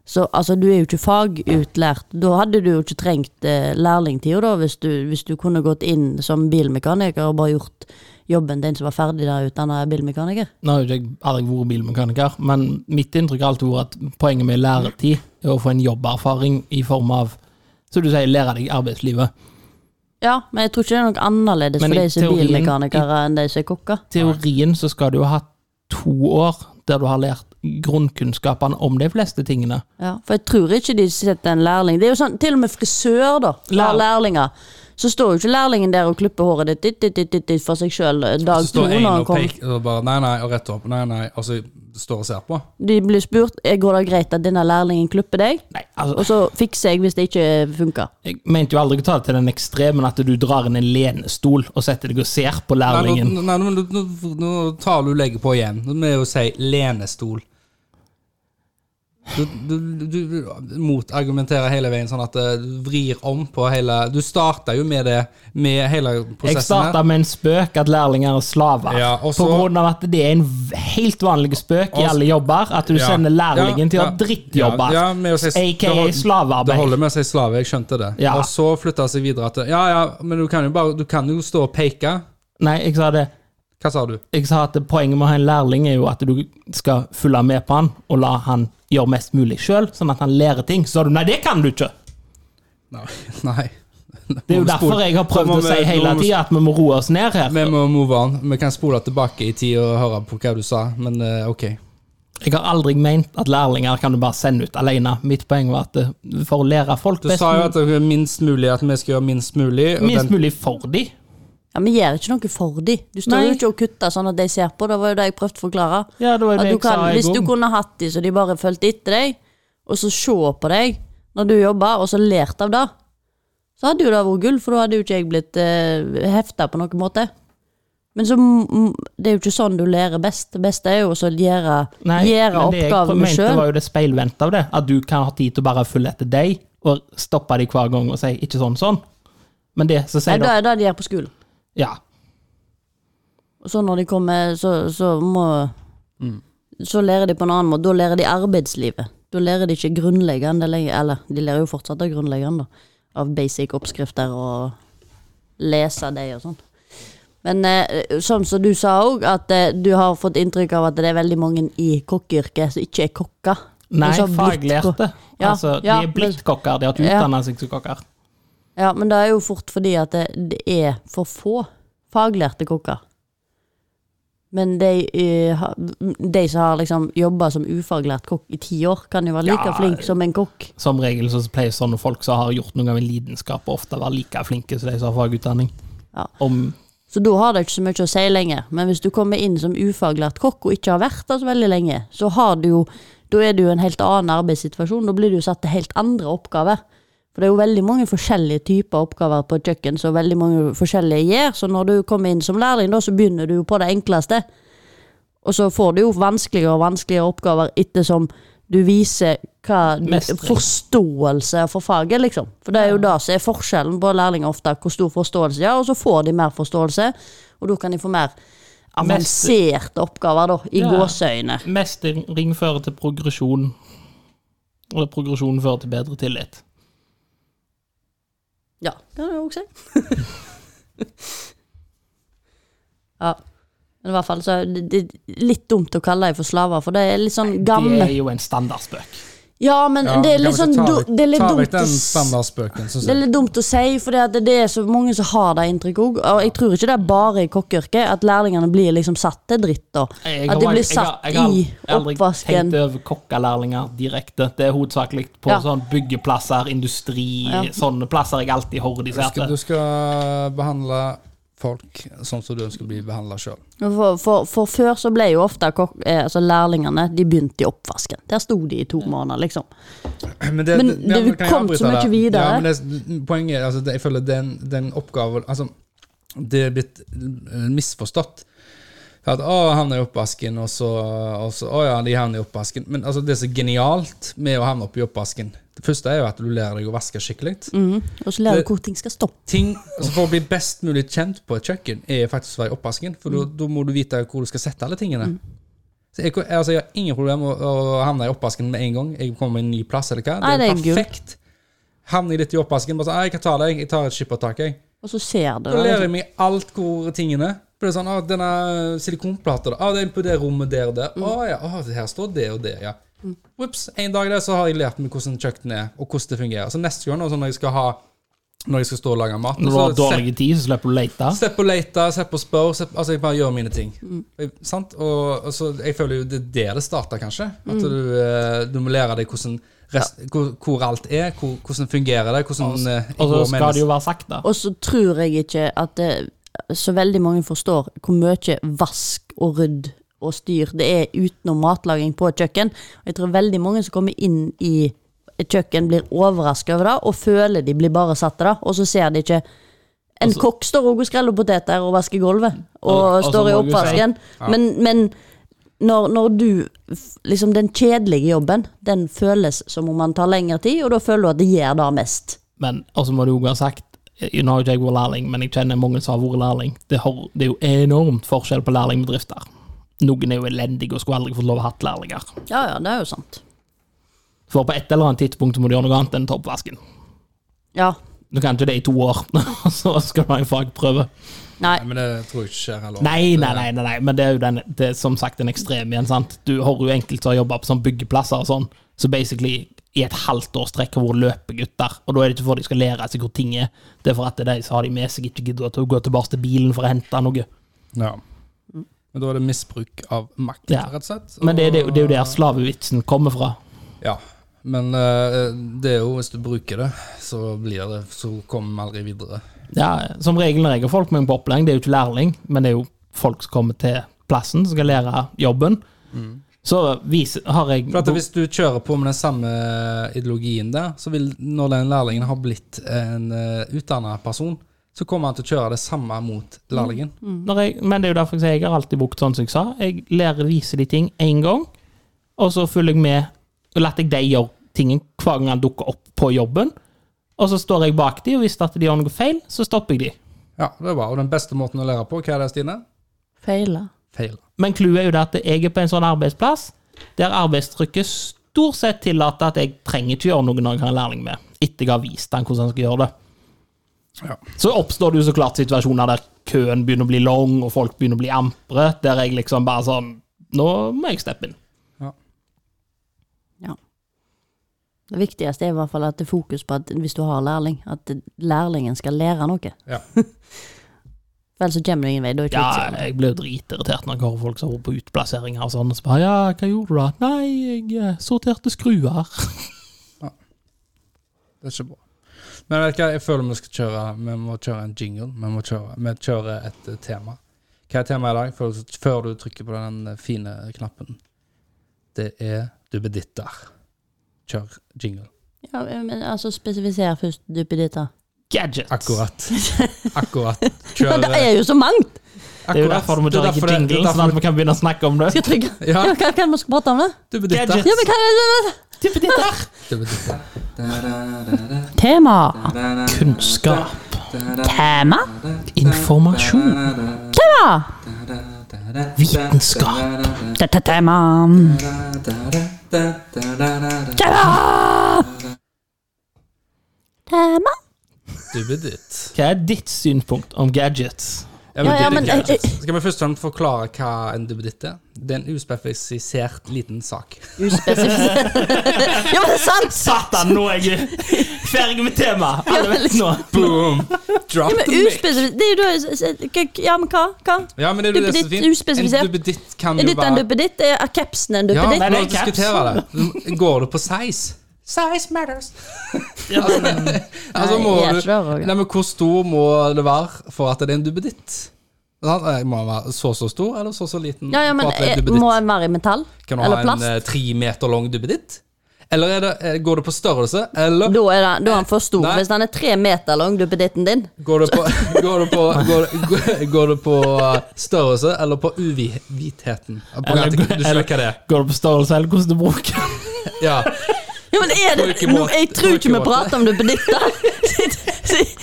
C: Så altså, du er jo ikke fagutlært. Da hadde du jo ikke trengt eh, lærlingtida, da, hvis du, hvis du kunne gått inn som bilmekaniker og bare gjort jobben din som var ferdig der utdanna bilmekaniker.
B: Nå har jo ikke jeg aldri vært bilmekaniker, men mitt inntrykk har alltid vært at poenget med læretid er å få en jobberfaring i form av som du sier, lære deg arbeidslivet.
C: Ja, men jeg tror ikke det er noe annerledes
B: Men
C: for
B: i
C: de som er
B: teorien-
C: bilmekanikere enn de som er kokker.
B: teorien så skal du jo ha to år der du har lært grunnkunnskapene om de fleste tingene.
C: Ja, for jeg tror ikke de setter en lærling. Det er jo sånn, Til og med frisør da, har
B: Lær-
C: lærlinger. Så står jo ikke lærlingen der og klipper håret ditt, ditt, ditt, ditt, ditt, ditt for seg sjøl dag to.
A: Så står
C: når
A: en
C: han
A: og
C: kommer.
A: peker og bare Nei, nei, og rett opp. Nei, nei. Og så står og ser på.
C: De blir spurt «Eh, går det greit at denne lærlingen klipper deg,
B: Nei,
C: og
B: altså,
C: så fikser jeg hvis det ikke funker.
B: jeg mente jo aldri å ta det til den ekstremen at du drar inn en lenestol og setter deg og ser
A: Nei,
B: på
A: nå,
B: lærlingen.
A: nei, nå, nå, nå tar du legger på igjen. Nå må jeg jo si lenestol. Du, du, du, du motargumenterer hele veien sånn at eh, du vrir om på hele Du starta jo med det, med hele
B: Jeg
A: prosessen
B: starta
A: her.
B: med en spøk at lærlinger er slaver.
A: Ja, og så-
B: på grunn av at det er en v- helt vanlig spøk i
A: Og-
B: alle jobber, at du
A: Ja.
B: sender lærlingen til å
A: Ja,
B: gjøre drittjobber.
A: Ja, ja, med å si,
B: AKA
A: det hold- Det
B: slavearbeid.
A: holder med å si slave, jeg skjønte det.
B: Ja.
A: Og så flytta seg videre til Ja, ja, men du kan jo bare Du kan jo stå og peke.
B: Nei, jeg sa det.
A: Hva sa du?
B: Jeg sa at poenget med å ha en lærling er jo at du skal følge med på han og la han gjøre mest mulig sjøl, sånn at han lærer ting. Så sa du nei, det kan du ikke!
A: Nei. nei.
B: Det er jo
A: Må vi spole-
B: derfor jeg har
A: Nå
B: prøvd
A: må
B: å si
A: vi- nå
B: hele
A: må vi
B: tida at vi må roe oss ned her.
A: Vi må move on. Vi kan spole tilbake i tid og høre på hva du sa, men eh, ok.
B: Jeg har aldri ment at lærlinger kan du bare sende ut alene. Mitt poeng var at eh, for å lære folk
A: Du
B: best
A: sa jo at det er minst mulig at vi skal gjøre minst mulig. Og
B: minst
A: den,
B: mulig for de.
C: Ja, Vi gjør ikke noe for de. Du står
B: Nei.
C: jo ikke og kutter sånn at de ser på. Det var jo det jeg prøvde å forklare.
B: Ja, det var
C: At
B: jo det
C: du
B: jeg
C: kan,
B: sa i
C: hvis du
B: går.
C: kunne hatt de så de bare fulgte etter deg, og så se på deg når du jobber, og så lært av det, så hadde jo det vært gull, for da hadde jo ikke jeg blitt eh, hefta på noen måte. Men så, m- m- det er jo ikke sånn du lærer best. Det beste er jo også å gjøre,
B: Nei,
C: gjøre
B: men det jeg
C: oppgavene
B: mente
C: sjøl.
B: var jo det speilvendte av det. At du kan ha tid til å bare følge etter deg, og stoppe de hver gang og si 'ikke sånn, sånn'. Men det så
C: Nei,
B: sier
C: det
B: du
C: er det de gjør på skolen.
B: Ja.
C: Og så når de kommer, så, så må Så lærer de på en annen måte. Da lærer de arbeidslivet. Da lærer de ikke grunnleggende lenger. Eller, de lærer jo fortsatt av grunnleggende, da. Av basic oppskrifter og lese de og sånn. Men eh, sånn som du sa òg, at eh, du har fått inntrykk av at det er veldig mange i kokkeyrket som ikke er kokker. men
B: Nei,
C: som har blitt ko-
B: faglærte.
C: Ja,
B: altså,
C: ja,
B: de er
C: men-
B: blitt kokker, de har ikke
C: Ja.
B: utdanna seg som kokker.
C: Ja, men det er jo fort fordi at det, det er for få faglærte kokker. Men de, eh, ha- de som har liksom jobba som ufaglært kokk i ti år, kan jo være like
B: Ja.
C: flink som en kokk.
B: Som regel så pleier sånne folk som har gjort noe av en lidenskap, ofte å være like flinke som de som har fagutdanning.
C: Ja.
B: Om,
C: Så da har det ikke så mye å si lenger. Men hvis du kommer inn som ufaglært kokk og ikke har vært der så veldig lenge, så har du jo Da er det jo en helt annen arbeidssituasjon. Da blir du jo satt til helt andre oppgaver. For det er jo veldig mange forskjellige typer oppgaver på et kjøkken som veldig mange forskjellige gjør. Så når du kommer inn som lærling, da, så begynner du jo på det enkleste. Og så får du jo vanskeligere og vanskeligere oppgaver ettersom du viser hva
B: Mestring.
C: forståelse for faget, liksom. For det er jo det som er forskjellen på lærlinger ofte, hvor stor forståelse de har, og så får de mer forståelse, og da kan de få mer avanserte oppgaver, da, i
B: Ja.
C: gåseøyne.
B: mestring fører til progresjon, og progresjon fører til bedre tillit.
C: Ja, kan jeg også si. ja. Men i hvert fall så er det, det er litt dumt å kalle dem for slaver, for det er litt sånn
B: Det
C: gammel
B: er jo en standardspøk.
C: Ja, men
A: Ja,
C: det er
A: kan
C: litt
A: vi
C: sånn
A: ikke ta
C: du-
A: vekk-
C: Det er litt
A: ta
C: dumt
A: vekk
C: å
A: den
C: s-
A: standardspøken, synes
C: Det er
A: jeg.
C: litt dumt å si, for det, det er så mange som har det inntrykket òg. Og jeg tror ikke det er bare i kokkeyrket at lærlingene blir liksom satt til dritt. da. At
B: Jeg har-
C: de blir
B: jeg har-
C: satt
B: jeg har
C: i
B: aldri
C: oppvasken.
B: tenkt over kokkelærlinger direkte. Det er hovedsakelig på
C: Ja.
B: sånn byggeplasser, industri,
C: Ja.
B: sånne plasser jeg alltid
A: Husk at
B: horroriserte.
A: du skal behandle folk sånn som du ønsker å bli behandla sjøl.
C: For, for, for før så ble jo ofte kok eh, altså lærlingene De begynte i oppvasken. Der sto de i to måneder, liksom.
A: Men, det,
C: Men
A: det- ja,
C: det- vi
A: kan jeg
C: kom
A: avbryte
C: så mye
A: der?
C: videre.
A: Ja, men det, poenget er altså, det, Jeg føler den, den oppgaven altså, Det er blitt eh, misforstått. At 'Å, han er i oppvasken', og så, og så 'Å ja, de havner i oppvasken'. Men altså, det som er genialt med å havne oppi oppvasken Det første er jo at du lærer deg å vaske skikkelig.
C: Mhm. Og så lærer
A: Det-
C: du hvor ting skal stå.
A: Ting altså For å bli best mulig kjent på et kjøkken, er faktisk å være i oppvasken. For da- da må du vite hvor du skal sette alle tingene. Så jeg, altså, jeg har ingen problem med å, å havne i oppvasken med en gang. Jeg kommer med en ny plass, eller hva.
C: Nei,
A: det er
C: det er gull.
A: perfekt. Havner jeg litt i oppvasken, bare sånn «Nei, 'Jeg kan ta det, jeg. Jeg tar et skippertak', jeg.
C: Og liksom så ser du
A: Da lærer
C: det.
A: jeg meg alt hvor tingene For det er sånn, ah, denne silikonplata ah, det er på det rommet der og der. Å ja, ah, det her står det og det, ja. Ops. En dag der så har jeg lært meg hvordan kjøkkenet er, og hvordan det fungerer. Så neste gang nå, sånn når jeg skal ha Når jeg skal stå og lage mat
B: Når du
A: så
B: har dårlig tid, så slipper du å lete.
A: slipp- Slipp å lete, slipp å spørre. slipp- altså, jeg bare gjør mine ting.
B: Mm.
A: Jeg, sant? Og, og så jeg føler jo det er der det starter, kanskje.
B: Mm.
A: At du, eh, du må lære deg hvordan rest, hvor, hvor alt er, hvor, hvordan fungerer det, hvordan eh,
B: Og så
A: går
B: Altså- skal det
A: mennesker-
B: jo være sakte.
C: Og så tror jeg ikke at det, så veldig mange forstår hvor mye vask og rydd og styr det er utenom matlaging på et kjøkken. Og jeg tror veldig mange som kommer inn i et kjøkken, blir overraska over det, og føler de blir bare satt til det, og så ser de ikke en kokk står også og skreller poteter og vasker gulvet, og
B: Og- og så
C: står i
B: må du si-
C: oppvasken. Men, men når, når du f- Liksom, den kjedelige jobben, den føles som om man tar lengre tid, og da føler du at det gjør det mest.
B: Men og så må du også ha sagt eh, Nå har ikke jeg vært lærling, men jeg kjenner mange som har vært lærling. Det, har, det er jo enormt forskjell på lærlingbedrifter. Noen er jo elendige og skulle aldri fått lov å ha hatt lærlinger.
C: Ja, ja, det er jo sant.
B: For på et eller annet tidspunkt må du gjøre noe annet enn ta oppvasken.
C: Ja,
B: Du kan ikke det i to år, og så skal du ha en fagprøve.
C: Nei.
A: Nei, men det tror jeg ikke skjer heller.
B: Nei, nei, nei, nei, nei. men det er jo den, det er som sagt en ekstrem igjen, sant. Du har jo enkelte som har jobba på sånn byggeplasser og sånn, så basically i et halvt års trekk har vært løpegutter. Og da er det ikke for de skal lære seg hvor ting er, det er for at det er de som har de med seg, ikke gidder å gå tilbake til bilen for å hente noe.
A: Ja. Men da er det misbruk av makt,
B: Mm. Ja.
A: rett og slett.
B: Men det, er- det, er jo- det er jo
A: Og-
B: der slavevitsen kommer fra.
A: Ja. Men eh, det er jo hvis du bruker det, så blir det Så kommer vi aldri videre.
B: Ja, som regel når jeg har folk med meg på opplæring, det er jo ikke lærling, men det er jo folk som kommer til plassen, som skal lære jobben. Så viser, har jeg
A: Mm. For at Hvis du kjører på med den samme ideologien der, så vil når den lærlingen har blitt en uh, utdanna person, så kommer han til å kjøre det samme mot lærlingen.
B: Når jeg, men det er jo derfor jeg sier jeg har alltid brukt sånn som jeg sa. Jeg lærer viser de ting én gang, og så følger jeg med og lar jeg de gjøre tingen hver gang han dukker opp på jobben. Og så står jeg bak de, og hvis at de gjør noe feil, så stopper jeg de.
A: Ja, det er bra. Og den beste måten å lære på, hva er det, Stine?
C: Feila.
A: Feil.
B: Men clouet er jo det at jeg er på en sånn arbeidsplass der arbeidstrykket stort sett tillater at jeg trenger ikke gjøre noe når jeg har en lærling med, etter jeg har vist han hvordan han skal gjøre det.
A: Ja.
B: Så oppstår det jo så klart situasjoner der køen begynner å bli lang, og folk begynner å bli ampre, der jeg liksom bare sånn Nå må jeg steppe inn.
C: Ja. Det viktigste er i hvert fall at det er fokus på at hvis du har lærling, at lærlingen skal lære noe.
A: Ja.
C: Vel, så kommer du ingen vei. Da er det ikke
B: Ja,
C: vits i
A: sånn.
C: det.
B: jeg blir jo dritirritert når jeg hører folk som har vært på uteplasseringer og sånn. Og så bare, ja, hva gjorde du da? Nei, jeg eh, sorterte skruer.
A: Det er ikke bra. Men vet du hva, jeg føler vi skal kjøre Vi må kjøre en jingle. Vi, må kjøre, vi kjører et eh, tema. Hva er temaet i dag, før, du- før du trykker på den eh, fine knappen? Det er duppeditter. Kjør jingle.
C: Ja, men altså, spesifiser først duppeditter.
B: Gadgets.
A: Akkurat. Akkurat.
C: Ja,
A: Kjør
C: det er jo så mangt!
B: Det er jo derfor du må
A: Det er
B: kjøre
A: derfor
B: ikke
A: det-
B: jingle,
A: det er
B: sånn at
A: derfor-
B: vi kan begynne å snakke om det.
C: Skal jeg trykke?
A: Ja,
C: Ja, hva, hva man skal prate om det?
A: duppeditter.
B: Gadget.
C: Ja, men hva er det?
B: Duppeditter.
A: Duppeditter.
C: Tema.
B: Kunnskap.
C: Tema?
B: Informasjon.
C: Tema!
B: Vitenskap.
C: Dette tema. Tema! Tema?
A: Duppeditt.
B: Hva er ditt synspunkt om gadgets?
A: Ja,
C: Ja,
A: men,
C: ja,
A: det- det er
C: men-
A: greit. Skal vi først og fremst forklare hva en duppeditt er? Det er en uspesifisert liten sak.
C: Uspesifisert. ja, men det er sant!
B: Satan, nå er jeg ferdig med temaet! Alle vet nå.
A: Boom! Drop
C: Ja, men
A: the mic.
C: uspesifisert Det er jo da hva- Ja, men hva? hva?
A: Ja, men det er jo det som er
C: Duppeditt,
A: fint.
C: uspesifisert.
A: En duppeditt kan
C: Er
A: jo
C: dette en
A: være
C: duppeditt? eh, Er capsen en
A: Ja,
C: duppeditt?
A: men
B: Nei,
A: la
B: det
A: oss
B: er caps.
A: diskutere det. Går det på size? Size matters.
B: Ja, men-
A: Altså,
C: Nei,
A: må
C: jeg er
A: du,
C: ikke der, Roger.
A: nei, men hvor stor må det være for at det er en duppeditt? Sant? Eh, Må den være så så stor, eller så så liten?
C: Ja, ja, men
A: for at det er
C: er,
A: en duppeditt?
C: Må en være i metall?
A: kan du
C: Eller
A: ha en
C: plast?
A: eh, tre meter lang duppeditt? Eller er det, eh, går det på størrelse, eller
C: Da er, den, da er han for stor.
A: Nei.
C: Hvis den er tre meter lang, duppeditten din
A: Går det på, går det på, går det, går det på eh, størrelse eller på uvitheten? På
B: Eller-
A: at du skjønner hva det er.
B: Går det på størrelse eller hvordan du bruker den?
A: Ja.
C: Ja, men er det
A: Folkebåt-
C: Nå, Jeg tror ikke vi
A: folkebåt.
C: prater om duppeditter!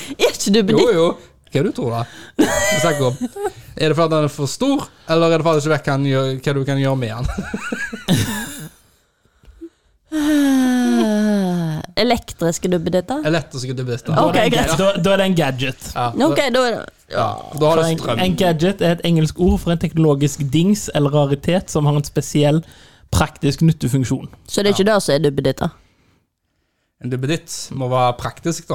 C: er ikke
A: Jo,
C: duppeditt
A: jo. Hva er det du tror da? Vi snakker om. Er det fordi den er for stor, eller er det fordi du ikke vet hva den gjør- hva du kan gjøre med den?
C: Øh, Elektriske duppeditter?
A: Elektriske duppeditter.
C: Ok,
B: Da er det en
C: greit.
B: ga- Da, da er det en gadget.
A: Ja,
C: Nå, Ok, da er det
A: ja, da har
B: For
A: det
B: en,
A: strøm.
B: en gadget er et engelsk ord for en teknologisk dings eller raritet som har en spesiell praktisk nyttefunksjon.
C: Så det er ikke det som er duppeditter?
A: En duppeditt må være praktisk, da.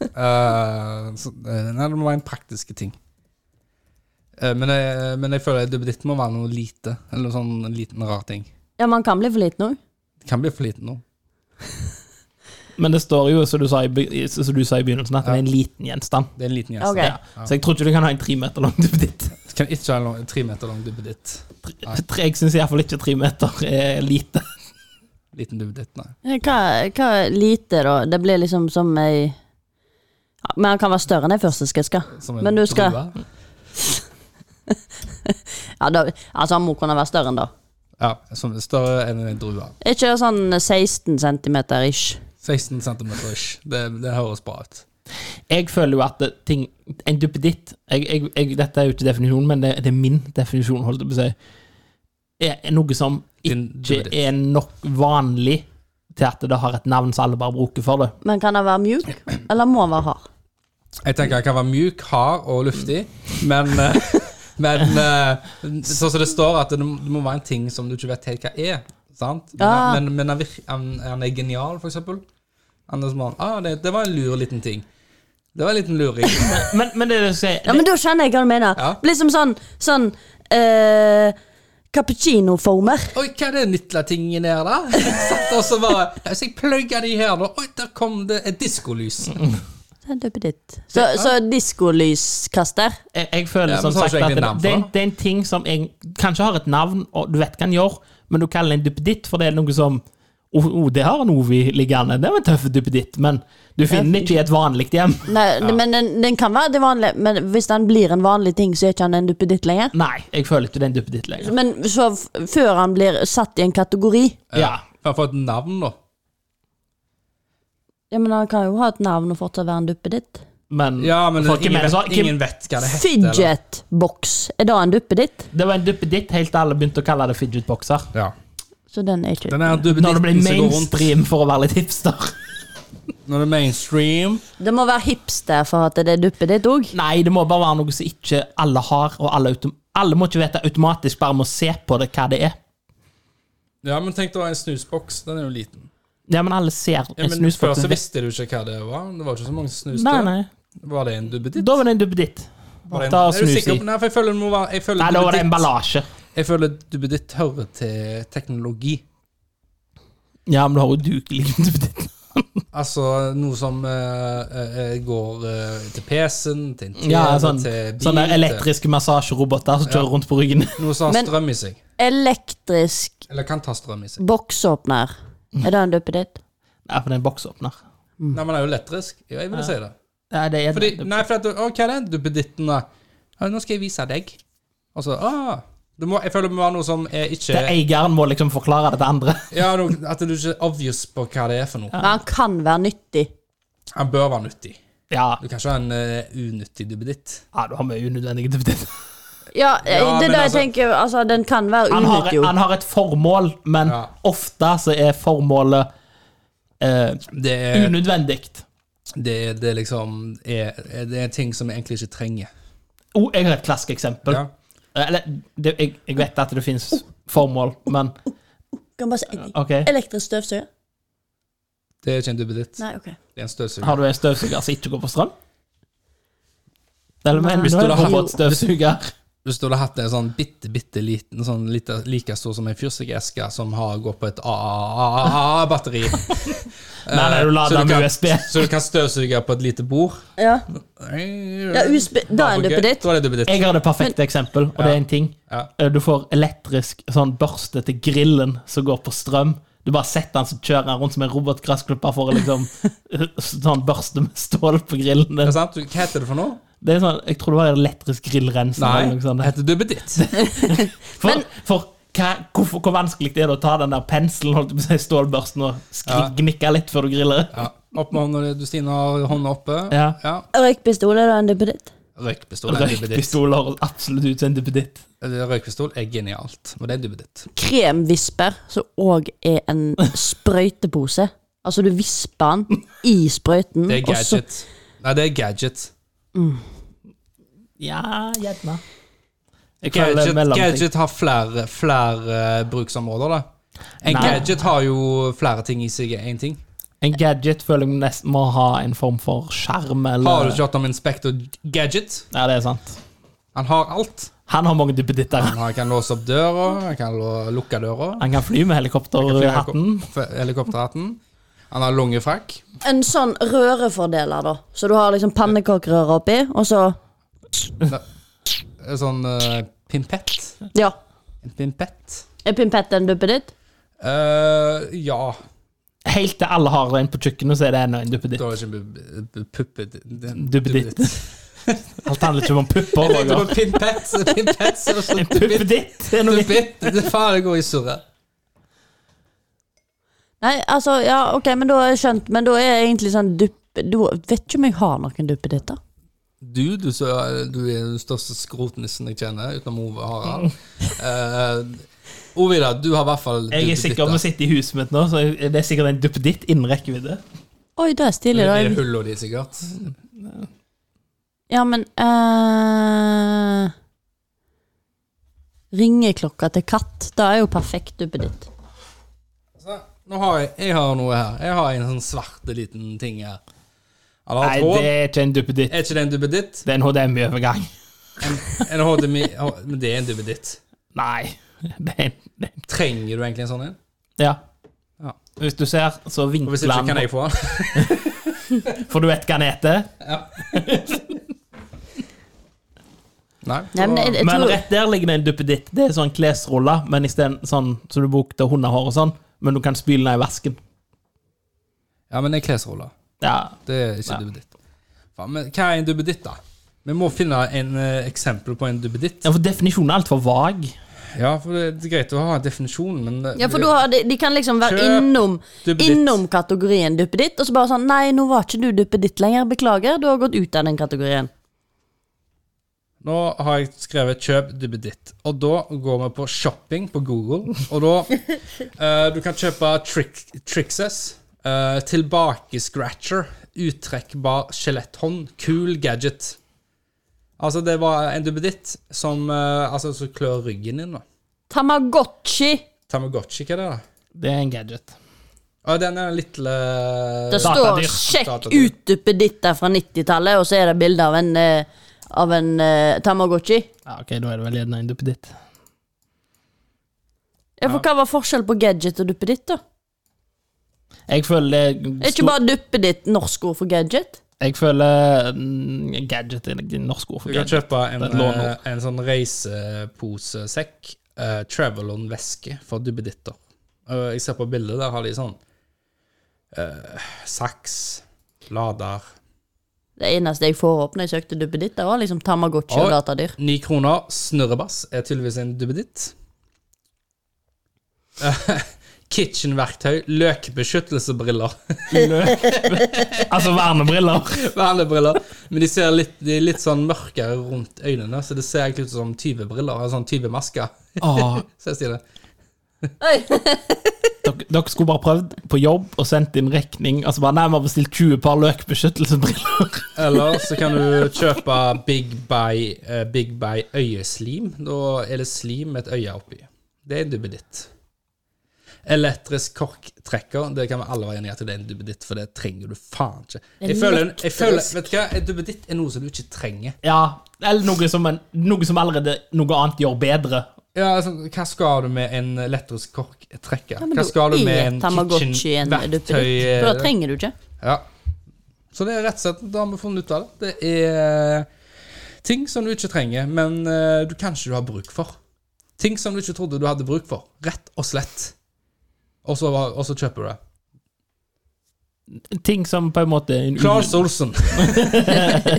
A: Eh, så, eh, nei, det må være en praktiske ting. Eh, men, jeg, men jeg føler at duppeditt må være noe lite, eller noe sånn liten, rar ting.
C: Ja, man kan bli for liten òg.
A: Det kan bli for liten nå.
B: Men det står jo, som du sa i, be- i- som du sa i begynnelsen, at det er en liten gjenstand.
A: Det er en liten gjest.
C: Ok.
B: Ja. Så jeg tror ikke du kan ha en tre meter lang duppeditt.
A: Du kan ikke ha en lang- en tre meter lang duppeditt.
B: Tre- Jeg syns iallfall ikke tre meter er lite.
A: Liten duppeditt, nei.
C: Hva, Eh, hva er lite, da? Det blir liksom som ei ja, Men han kan være større enn ei førsteskeske.
A: Som en
C: Men du skal-
A: drue.
C: Ja, da- altså, han må kunne være større enn det.
A: Ja, som er større enn en drue.
C: Er ikke det sånn 16 cm ish?
A: 16 cm ish. Det, det høres bra ut.
B: Jeg føler jo at det- ting En duppeditt jeg, jeg, jeg, Dette er jo ikke definisjonen, men det, det er min definisjon, holdt jeg på å si. Er noe som
A: Din
B: ikke
A: duppeditt.
B: er nok vanlig til at det har et navn som alle bare bruker for det.
C: Men kan den være mjuk, eller må den være hard?
A: Jeg tenker den kan være mjuk, hard og luftig, men eh, Men eh, sånn som det står, at det det må være en ting som du ikke vet helt hva er. Sant? Men,
C: Ja.
A: men, men han, virker, han, han er genial, for eksempel. Han er som han, ah, det, det var en lur liten ting. Det var en liten luring.
B: Men, men det er det jeg sier
C: Ja, men da skjønner jeg hva du mener.
A: Ja.
C: Liksom sånn, sånn eh, Cappuccino-former.
A: Oi, hva er det nytla tingen her, da? Satt og så bare Hvis jeg plugger de her, da Oi, der kom det et diskolys.
C: Så er det duppeditt. Så, så diskolyskaster.
B: jeg, jeg føler
A: Ja, men
B: som
A: så har
B: sagt
A: ikke
B: at
A: egentlig
B: det,
A: navn for
B: det, er en-
A: det.
B: det er en ting som jeg, kanskje har et navn, og du vet hva den gjør, men du kaller den duppeditt, for det er noe som Å, å, det har en Ovi liggende, det var en tøff duppeditt, men du finner den ikke i et vanlig hjem.
C: Nei, Men den, den kan være det vanlige, men hvis den blir en vanlig ting, så er ikke han en duppeditt lenger.
B: Nei, jeg føler ikke det er en duppeditt lenger.
C: Men så f før han blir satt i en kategori
B: Ja.
A: Kan jeg få et navn, da?
C: Ja, men Han kan jo ha et navn og fortsatt være en duppeditt.
B: Men,
A: Ja, men
B: folk er
A: ingen,
B: mer sånn,
A: vet,
B: hvem-
A: ingen vet hva det heter. eller?
C: Fidget-boks. Er det en duppeditt?
B: Det var en duppeditt helt til alle begynte å kalle det fidget-bokser.
A: Ja.
C: Så den er ikke
A: Den er
B: Når det ble
A: duppeditten som går rundt.
B: mainstream for å være litt hipster.
A: Når det er mainstream
C: Det må være hipster for at det er duppeditt òg.
B: Nei, det må bare være noe som ikke alle har, og alle, autom alle må ikke vite automatisk, bare må se på det hva det er.
A: Ja, men tenk deg å ha en snusboks. Den er jo liten.
B: Ja, men alle ser
A: Ja,
B: en
A: men
B: snusboks.
A: Før så visste du ikke hva det var. Det var ikke så mange snus
B: Nei,
A: da.
B: nei.
A: Var det en duppeditt?
B: Da var det en duppeditt.
A: Var det en-
B: Da
A: Er du
B: snus
A: sikker?
B: i.
A: Nei, for jeg føler det må være jeg føler
B: Nei, da var det
A: duppeditt-
B: emballasje.
A: Jeg føler duppeditt hører til teknologi.
B: Ja, men du har jo dukelig duppeditt.
A: Altså noe som eh, eh, går eh, til PC-en, til en TV,
B: Ja, sånn-
A: til bil
B: Sånne elektriske massasjeroboter som kjører rundt på ryggen.
A: til, Noe som har
C: Men-
A: strøm i seg.
C: Elektrisk
A: Eller kan ta strøm i seg.
C: boksåpner. Er det en duppeditt?
B: Nei, for det er en boksåpner.
A: Nei, men det er jo elektrisk. Ja, jeg vil si det.
B: Nei, det er
A: Fordi, nei, for at, å, hva er den duppeditten, da? Ja, nå skal jeg vise deg. Og så, ah, det må, jeg føler det må være noe som er ikke
B: Det eieren må liksom forklare det til andre.
A: ja, no, At du ikke er obvious på hva det er for noe.
C: Men han kan være nyttig.
A: Han bør være nyttig.
B: Ja,
A: Du kan ikke ha en eh, unyttig duppeditt.
B: ja du har mye unødvendige duppeditter.
C: Ja, eh,
A: Ja,
C: det
A: men
C: er det jeg
A: altså-
C: tenker. Altså, den kan være
B: Han, har-
C: unyttig, jo.
B: han har et formål, men
A: Ja.
B: ofte så er formålet eh,
A: Det er,
B: unødvendig.
A: det, er- det er liksom er, er- Det er ting som vi egentlig ikke trenger.
B: Oh, jeg har et klassisk eksempel. Eh,
A: Ja.
B: Eller, det, jeg, jeg vet at det finnes formål, men
C: Kan bare si en ting.
B: OK.
C: Elektrisk støvsuger?
A: Det er ikke en duppeditt.
C: Nei, ok.
A: Det er en støvsuger.
B: Har du en støvsuger som ikke går på strøm? Eller
C: Nei.
B: men,
C: Hvis
B: du
A: du
B: har
A: da
B: en
A: har-
B: robotstøvsuger.
A: Hvis du hadde hatt en sånn bitte, bitte liten, sånn lite, like stor som en fyrstikkeske som har gått på et AAA-batteri
B: Nei, nei, du lader
A: kan-
B: med USB.
A: Eh, Så du kan støvsuge på et lite bord.
C: Ja.
A: Ja,
C: ja USB, da er en duppeditt.
A: Da er det duppeditt.
B: Jeg har det perfekte eksempel, og det er en ting.
A: Ja.
B: Eh, Du får elektrisk sånn børste til grillen som går på strøm. Du bare setter den, så kjører den rundt som en robotgressklipper for å liksom Sånn børste med stål på grillen
A: Er
B: din.
A: det sant? Hva heter det for noe?
B: Det er sånn, Jeg tror det var elektrisk grillrenser.
A: Nei,
B: eller noe sånt.
A: det heter duppeditt.
B: For, for hva, hvorfor, hvor vanskelig det er det å ta den der penselen, holdt jeg på å si, stålbørsten, og skri-
A: Ja.
B: gnikke litt før du griller?
A: Ja. Opp med hånda, du Stine har hånda oppe.
B: Ja.
C: Røykpistol, er det en duppeditt?
A: Røykpistol er en duppeditt.
B: Røykpistol høres absolutt ut som en duppeditt.
A: Eller, Røykpistol er genialt, og det er en duppeditt.
C: Kremvisper, som òg er en sprøytepose. Altså, du visper den i sprøyten.
B: Mm,
A: Det er
C: og så-
A: gadget. Nei, det er gadget.
B: Ja, gjerne. Jeg føler
A: Gadget,
B: mellomting.
A: gadget har flere, flere eh, bruksområder, da. En
B: Nei.
A: gadget har jo flere ting i seg i én ting.
B: En gadget føler jeg nesten må ha en form for skjerm eller
A: Har du ikke hørt om Inspector Gadget?
B: Ja, det er sant.
A: Han har alt.
B: Han har mange duppeditter.
A: Han har- kan låse opp døra, han kan lå- lukke døra,
B: Han kan fly med helikopterhatten.
A: f- helikopterhatten. Han har lungefrakk.
C: En sånn rørefordeler, da. Så du har liksom pannekakerøre oppi, og så
A: En sånn eh, pimpett.
C: Ja.
A: En pimpett.
C: Er pimpett en duppeditt?
A: Eh, ja
B: Helt til alle har en på kjøkkenet, så er det ennå en duppeditt.
A: Da er det ikke en bu- bu- puppet den-
B: Duppeditt. Alt handler ikke om pupper.
A: Jeg tenkte
B: Roger.
A: på pimpett. Pimpett så så
B: En
A: duppeditt.
B: puppeditt er noe
A: Duppeditt. Det- Faen, det går i surret.
C: Nei, altså, ja, ok, men da har jeg skjønt. Men da er jeg egentlig sånn duppe... Da vet ikke om jeg har noen duppeditter.
A: Du, du, så, du er den største skrotnissen jeg kjenner, utenom Ove Harald. Uh, Ovida, du har i hvert fall
B: Jeg er
A: duppeditter.
B: sikker om å sitte i huset mitt nå, så det er sikkert en duppeditt innen rekkevidde.
C: Oi, det er stilig.
A: Det
C: Da.
A: er
C: Jeg-
A: hullene de, sikkert.
C: Ja, men eh, Ringeklokka til katt, det er jo perfekt duppeditt.
A: Så, nå har jeg, jeg har noe her. Jeg har en sånn svarte liten ting her. Han har
B: Nei,
A: et
B: det
A: hål.
B: er ikke en duppeditt.
A: Er ikke det en duppeditt?
B: Det er en HDMI-overgang.
A: En HDMI H- Men det er en duppeditt.
B: Nei. Det er en, det er en.
A: Trenger du egentlig en sånn en?
B: Ja.
A: Ja.
B: Hvis du ser, så
A: Og
B: vinkler
A: Hvis ikke, kan
B: han
A: jeg få den.
B: For du vet hva han heter?
A: Nei.
C: Nei, men jeg, jeg
B: Men
C: tror,
B: rett der ligger det en duppeditt. Det er sånn klesrulle, men i stedet sånn som du bruker til hundehår og sånn, men du kan spyle den i vasken.
A: Ja, men det er klesroller.
B: Ja.
A: Det er ikke
B: Nei.
A: duppeditt. Faen, Men hva er en duppeditt, da? Vi må finne en eh, eksempel på en duppeditt.
B: ja, for definisjonen er altfor vag.
A: Ja, for det er greit å ha en definisjon, men
C: ja, for da har de, de kan liksom være
A: Kjøp
C: innom,
A: duppeditt.
C: innom kategorien duppeditt, og så bare sånn Nei, nå var ikke du duppeditt lenger, beklager, du har gått ut av den kategorien.
A: Nå har jeg skrevet 'kjøp duppeditt', og da går vi på shopping på Google. Og da eh, Du kan kjøpe trick, Trixes, eh, tilbakescratcher, uttrekkbar skjeletthånd, cool gadget. Altså, det var en duppeditt som eh, altså, som klør ryggen din, da.
C: Tamagotchi!
A: Tamagotchi, hva er det? da?
B: Det er en gadget.
A: Ja, den er litt eh,
C: Det står
B: Datadyr.
C: 'sjekk
A: Datadyr.
C: utduppeditter fra 90-tallet', og så er det bilde av en, eh, av en eh, Tamagotchi.
B: Ja, ok, da er det vel en eiendom ditt.
C: Ja, for Hva var forskjellen på gadget og duppeditt? da?
B: Jeg føler det
C: Er ikke bare duppeditt norsk ord for gadget?
B: Jeg føler mm, gadget er det norske ord for
A: Du kan
B: gadget.
A: kjøpe en,
B: Det er et lån nå.
A: eh, en sånn reiseposesekk, eh, Travelon-veske for duppeditter. Eh, jeg ser på bildet, der har de sånn eh, saks, lader
C: Det eneste jeg får opp når jeg søkte duppeditter, var liksom Tamagotchi og
A: Oi.
C: datadyr.
A: Ni kroner. Snurrebass er tydeligvis en duppeditt. Eh, Kitchenverktøy, løkbeskyttelsesbriller,
B: Altså vernebriller.
A: vernebriller. Men de, ser litt, de er litt sånn mørkere rundt øynene, så det ser egentlig ut som tyvebriller. eller Sånn tyvemasker.
B: Åh,
A: Ser stille.
C: Oi.
B: dere, dere skulle bare prøvd på jobb og sendt inn regning. Altså bare, nei, vi har bestilt 20 par løkbeskyttelsesbriller.
A: Eller så kan du kjøpe Big Buy, eh, Big Buy øyeslim. Da er det slim med et øye oppi. Det er en duppeditt. Elektrisk korktrekker, det kan vi alle være enige i at det er en duppeditt, for det trenger du faen ikke. Jeg føler, jeg føler, vet du hva, En duppeditt er noe som du ikke trenger.
B: Ja, eller noe som, en, noe som allerede noe annet gjør bedre.
A: Ja, altså, Hva skal du med en elektrisk korktrekker?
C: Ja, men
A: Hva skal du med
C: er
A: en eh,
C: Tamagotchi en duppeditt? For da
A: kitchen-verktøy?
C: trenger du ikke.
A: Ja. Så det er rett og slett Da har vi funnet ut av det. Det er eh, ting som du ikke trenger, men eh, du kanskje du har bruk for. Ting som du ikke trodde du hadde bruk for. Rett og slett. Og så, og så kjøper du det.
B: Ting som på en måte er en
A: Claes Olsen.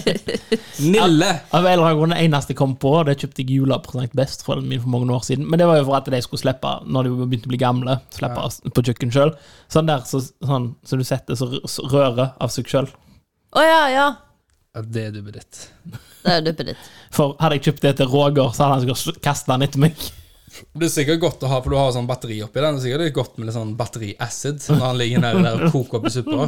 A: Nille.
B: Av en eller annen grunn, det eneste jeg kom på, det kjøpte jeg julepresang best fra min for mange år siden. Men det var jo for at de skulle slippe, når de begynte å bli gamle, slippe oss på kjøkken sjøl. Sånn der så, sånn, så du setter så rø- så røret av seg sjøl.
C: Å ja, ja.
A: Ja, det er duppeditt.
C: Det er jo duppeditt.
B: For hadde jeg kjøpt det til Roger, så hadde han sikkert kasta den etter meg.
A: Det er sikkert godt å ha, for du har sånn batteri oppi den. Det er sikkert litt godt med litt sånn batteriacid når han ligger nedi der og koker opp i suppa.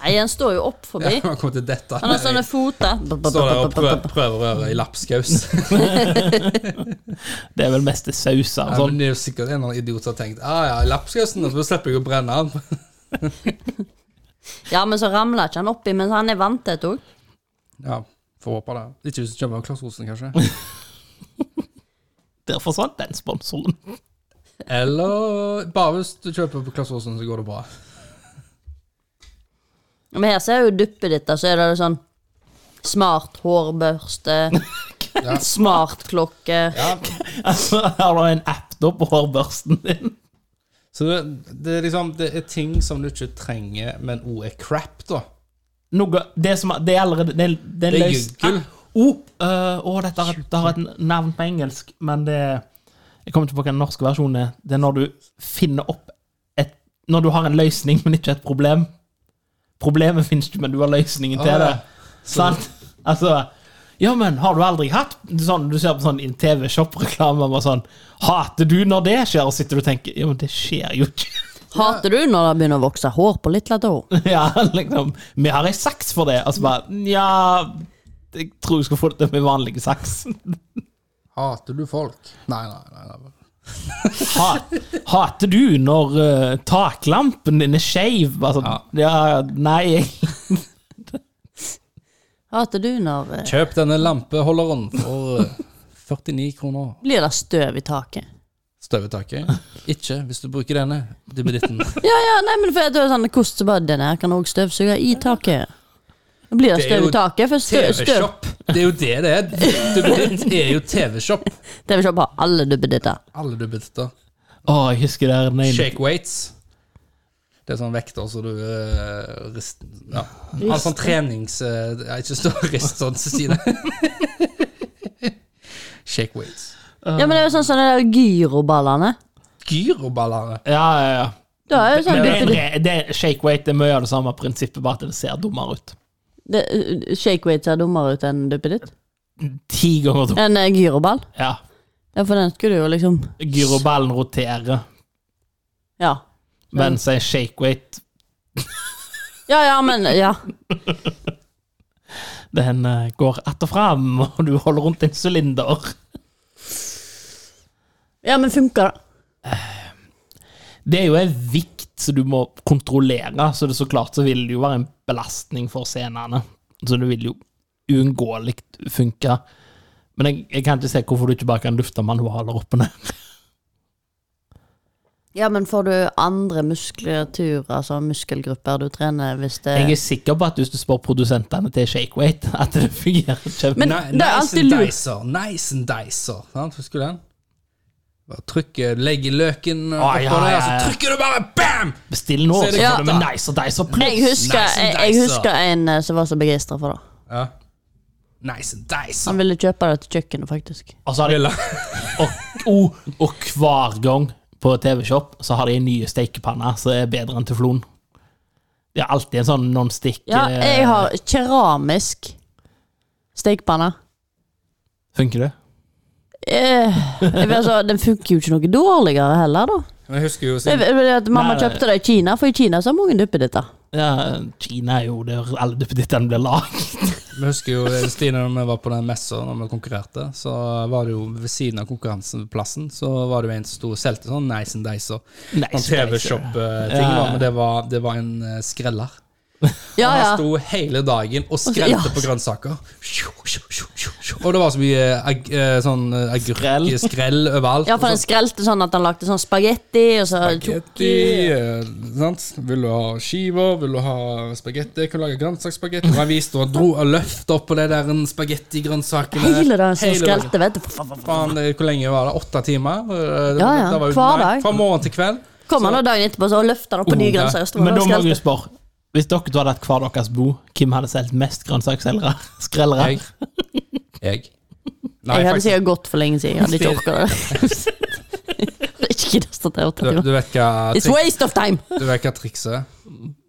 C: Nei, han står jo opp
A: Ja,
C: forbi.
A: han kommer til dette.
C: Han har sånne foter.
A: Står der og prøver, prøver røret i lapskaus.
B: Det er vel mest det sauser og
A: Ja, men
B: sånn.
A: det er jo sikkert en eller annen idiot som har tenkt ah, ja, lapskausen, så slipper jeg å brenne den.
C: Ja, men så ramler ikke han oppi mens han er vant til det òg.
A: Ja, får håpe det. Ikke hvis du kommer av Klaus Rosen, kanskje.
B: Der forsvant den sponsoren.
A: Eller bare hvis du kjøper på Klaus Rosen, så går det bra.
C: Men her ser jeg jo duppet ditt, da, så er det sånn smart hårbørste,
A: Ja.
C: smart klokke
A: Ja.
B: Altså, har du en app da på hårbørsten din?
A: Så det, det er liksom Det er ting som du ikke trenger, men òg er crap, da.
B: Noe, det som Det er allerede Det, er- det,
A: Det er
B: løs-
A: juggel.
B: Oh, øh, å, dette har, et- det har et navn på engelsk, men det Jeg kommer ikke på hva den norske versjonen er. Det er når du finner opp et Når du har en løsning, men ikke et problem. Problemet finnes ikke, men du har løsningen
A: Å,
B: til
A: ja.
B: det. Sant? Altså Ja, men har du aldri hatt sånn, Du ser på sånn i en TV-shop-reklame bare sånn Hater du når det skjer? Og sitter du og tenker Ja, men det skjer jo ikke.
C: Hater du når det begynner å vokse hår på litt lett hår?
B: ja, liksom Vi har ei saks for det. Altså bare Nja Jeg tror jeg skal få det til med vanlig saks.
A: Hater du folk? Nei, nei, nei. nei.
B: Ha, hater du når eh, taklampen din er skeiv? Altså, ja. nei jeg-
C: Hater du når eh,
A: Kjøp denne lampeholderen for eh, 49 kroner.
C: Blir det støv i taket?
A: Støvetaket. Ikke hvis du bruker denne duppeditten.
C: Ja, ja, nei, men for det er sånn kost så bare den her kan òg støvsuge i taket. Da Blir det
A: Det er
C: støv
A: jo
C: i taket? For støv, støv
A: TV-shop. Det er jo det det er. Duppeditt er jo TV-shop.
C: TV-shop har alle duppeditter.
A: Alle duppeditter.
B: Å, jeg husker der den ene
A: Shake weights. Det er sånn vekter så du eh, rist, ja. Han sånn trenings... eh, ja, ikke stå og rist sånn til side. Shake weights.
C: Ja, men det er jo sånn som de der gyroballene.
A: Gyroballene.
B: Ja, ja, ja.
C: Det er jo
B: Men
C: sånn
B: det er en
C: duppeditt.
B: re- det er shake weight det er mye av det samme prinsippet, bare at det ser dummere ut.
C: Det- uh, Shake weight ser dummere ut enn duppeditt.
B: Ti ganger dummere.
C: En eh, gyroball.
B: Ja.
C: Ja, for den skulle jo liksom
B: Gyroballen roterer,
C: Ja.
B: mens ei shake weight
C: Ja, ja, men Ja.
B: den eh, går att og fram, og du holder rundt en sylinder.
C: Ja, men funker det?
B: Det er jo en vikt som du må kontrollere, så det så klart så vil det jo være en belastning for scenene. Så det vil jo uunngåelig funke. Men jeg, jeg kan ikke se hvorfor du ikke bare kan lufte manualer opp og ned.
C: Ja, men får du andre muskulaturer, altså muskelgrupper du trener hvis det
B: Jeg er sikker på at hvis du spør produsentene til Shakeweight, at det fungerer kjempe...
C: Men
A: Nei,
C: det er
A: nice
C: alltid
A: and
C: lurt.
A: dicer, nice and dicer. Sant, husker du den? Bare trykke, legge løken oppå
B: ja, ja,
A: der,
B: ja.
A: så trykker du bare bam!
B: Bestill nå,
A: Så er
B: så
A: det
B: får
A: klart,
B: du med
A: da.
B: Nice og Dice og
C: Jeg
B: Plus.
C: husker,
A: Nice and
C: jeg, jeg
A: dicer.
C: husker en eh, som var så begeistra for det.
A: Ja. Nice and dicer.
C: Han ville kjøpe det til kjøkkenet, faktisk.
B: Og så har de
A: Ville.
B: Og, og, og hver gang på TV-shop så har de en ny stekepanne som er bedre enn teflon. De har alltid en sånn non-stick
C: Ja,
B: eh,
C: jeg har keramisk stekepanne.
B: Funker det?
C: Eh, jeg vet, altså, den funker jo ikke noe dårligere heller, da.
A: Men jeg husker jo
C: Jeg
A: siden
C: vet- jeg vet at Mamma
B: Nei, nei.
C: kjøpte det i Kina, for i Kina så har mange duppeditter.
B: Ja, Kina er jo der alle duppedittene blir lagd.
A: Vi husker jo eh, Stine, når vi var på den messa når vi konkurrerte, så var det jo ved siden av konkurranseplassen så var det jo en som sto og solgte sånn Nice and Dicer.
B: Nice,
A: Sånn TV-shop-ting,
B: Ja.
A: da, men det var, det var en eh, skreller.
C: Ja,
A: Han
C: ja.
A: sto hele dagen og
C: ja.
A: skrelte på grønnsaker. Og det var så mye ag eh, sånn eh,
B: Skrell.
A: agurkskrell overalt.
C: ja for den
A: og så
C: skrelte sånn at han lagde sånn spagetti, og så
A: Altså- Spagetti, eh, sant? Vil du ha skiver? Vil du ha spagetti? Kan du lage grønnsaksspagetti? Og han viste og dro og løftet opp på det der en spagettigrønnsakene.
C: Hele dagen som
A: Hele dagen.
C: skrelte, vet du.
A: Faen, eh, hvor lenge var det? Åtte timer? Eh,
C: Ja, ja.
A: det var jo-
C: Hver
A: nei,
C: dag.
A: Fra morgen til kveld.
C: Kommer han da dagen etterpå så løfter han opp på nye
A: Oh, ja.
C: grenser. og står
B: Men
C: og
B: da må
C: skrelte.
B: jeg jo spørre. Hvis dere to hadde hatt hver deres bo, hvem hadde solgt mest grønnsaksselgere? Skrellere?
A: Jeg. Jeg. Nei,
C: Jeg hadde
A: faktisk-
C: sikkert gått for lenge siden. Jeg hadde ikke orka det. Det er ikke giddet å stå der i åtte
A: du,
C: timer.
A: du vet hva
C: It's waste of time!
A: Du vet hva trikset er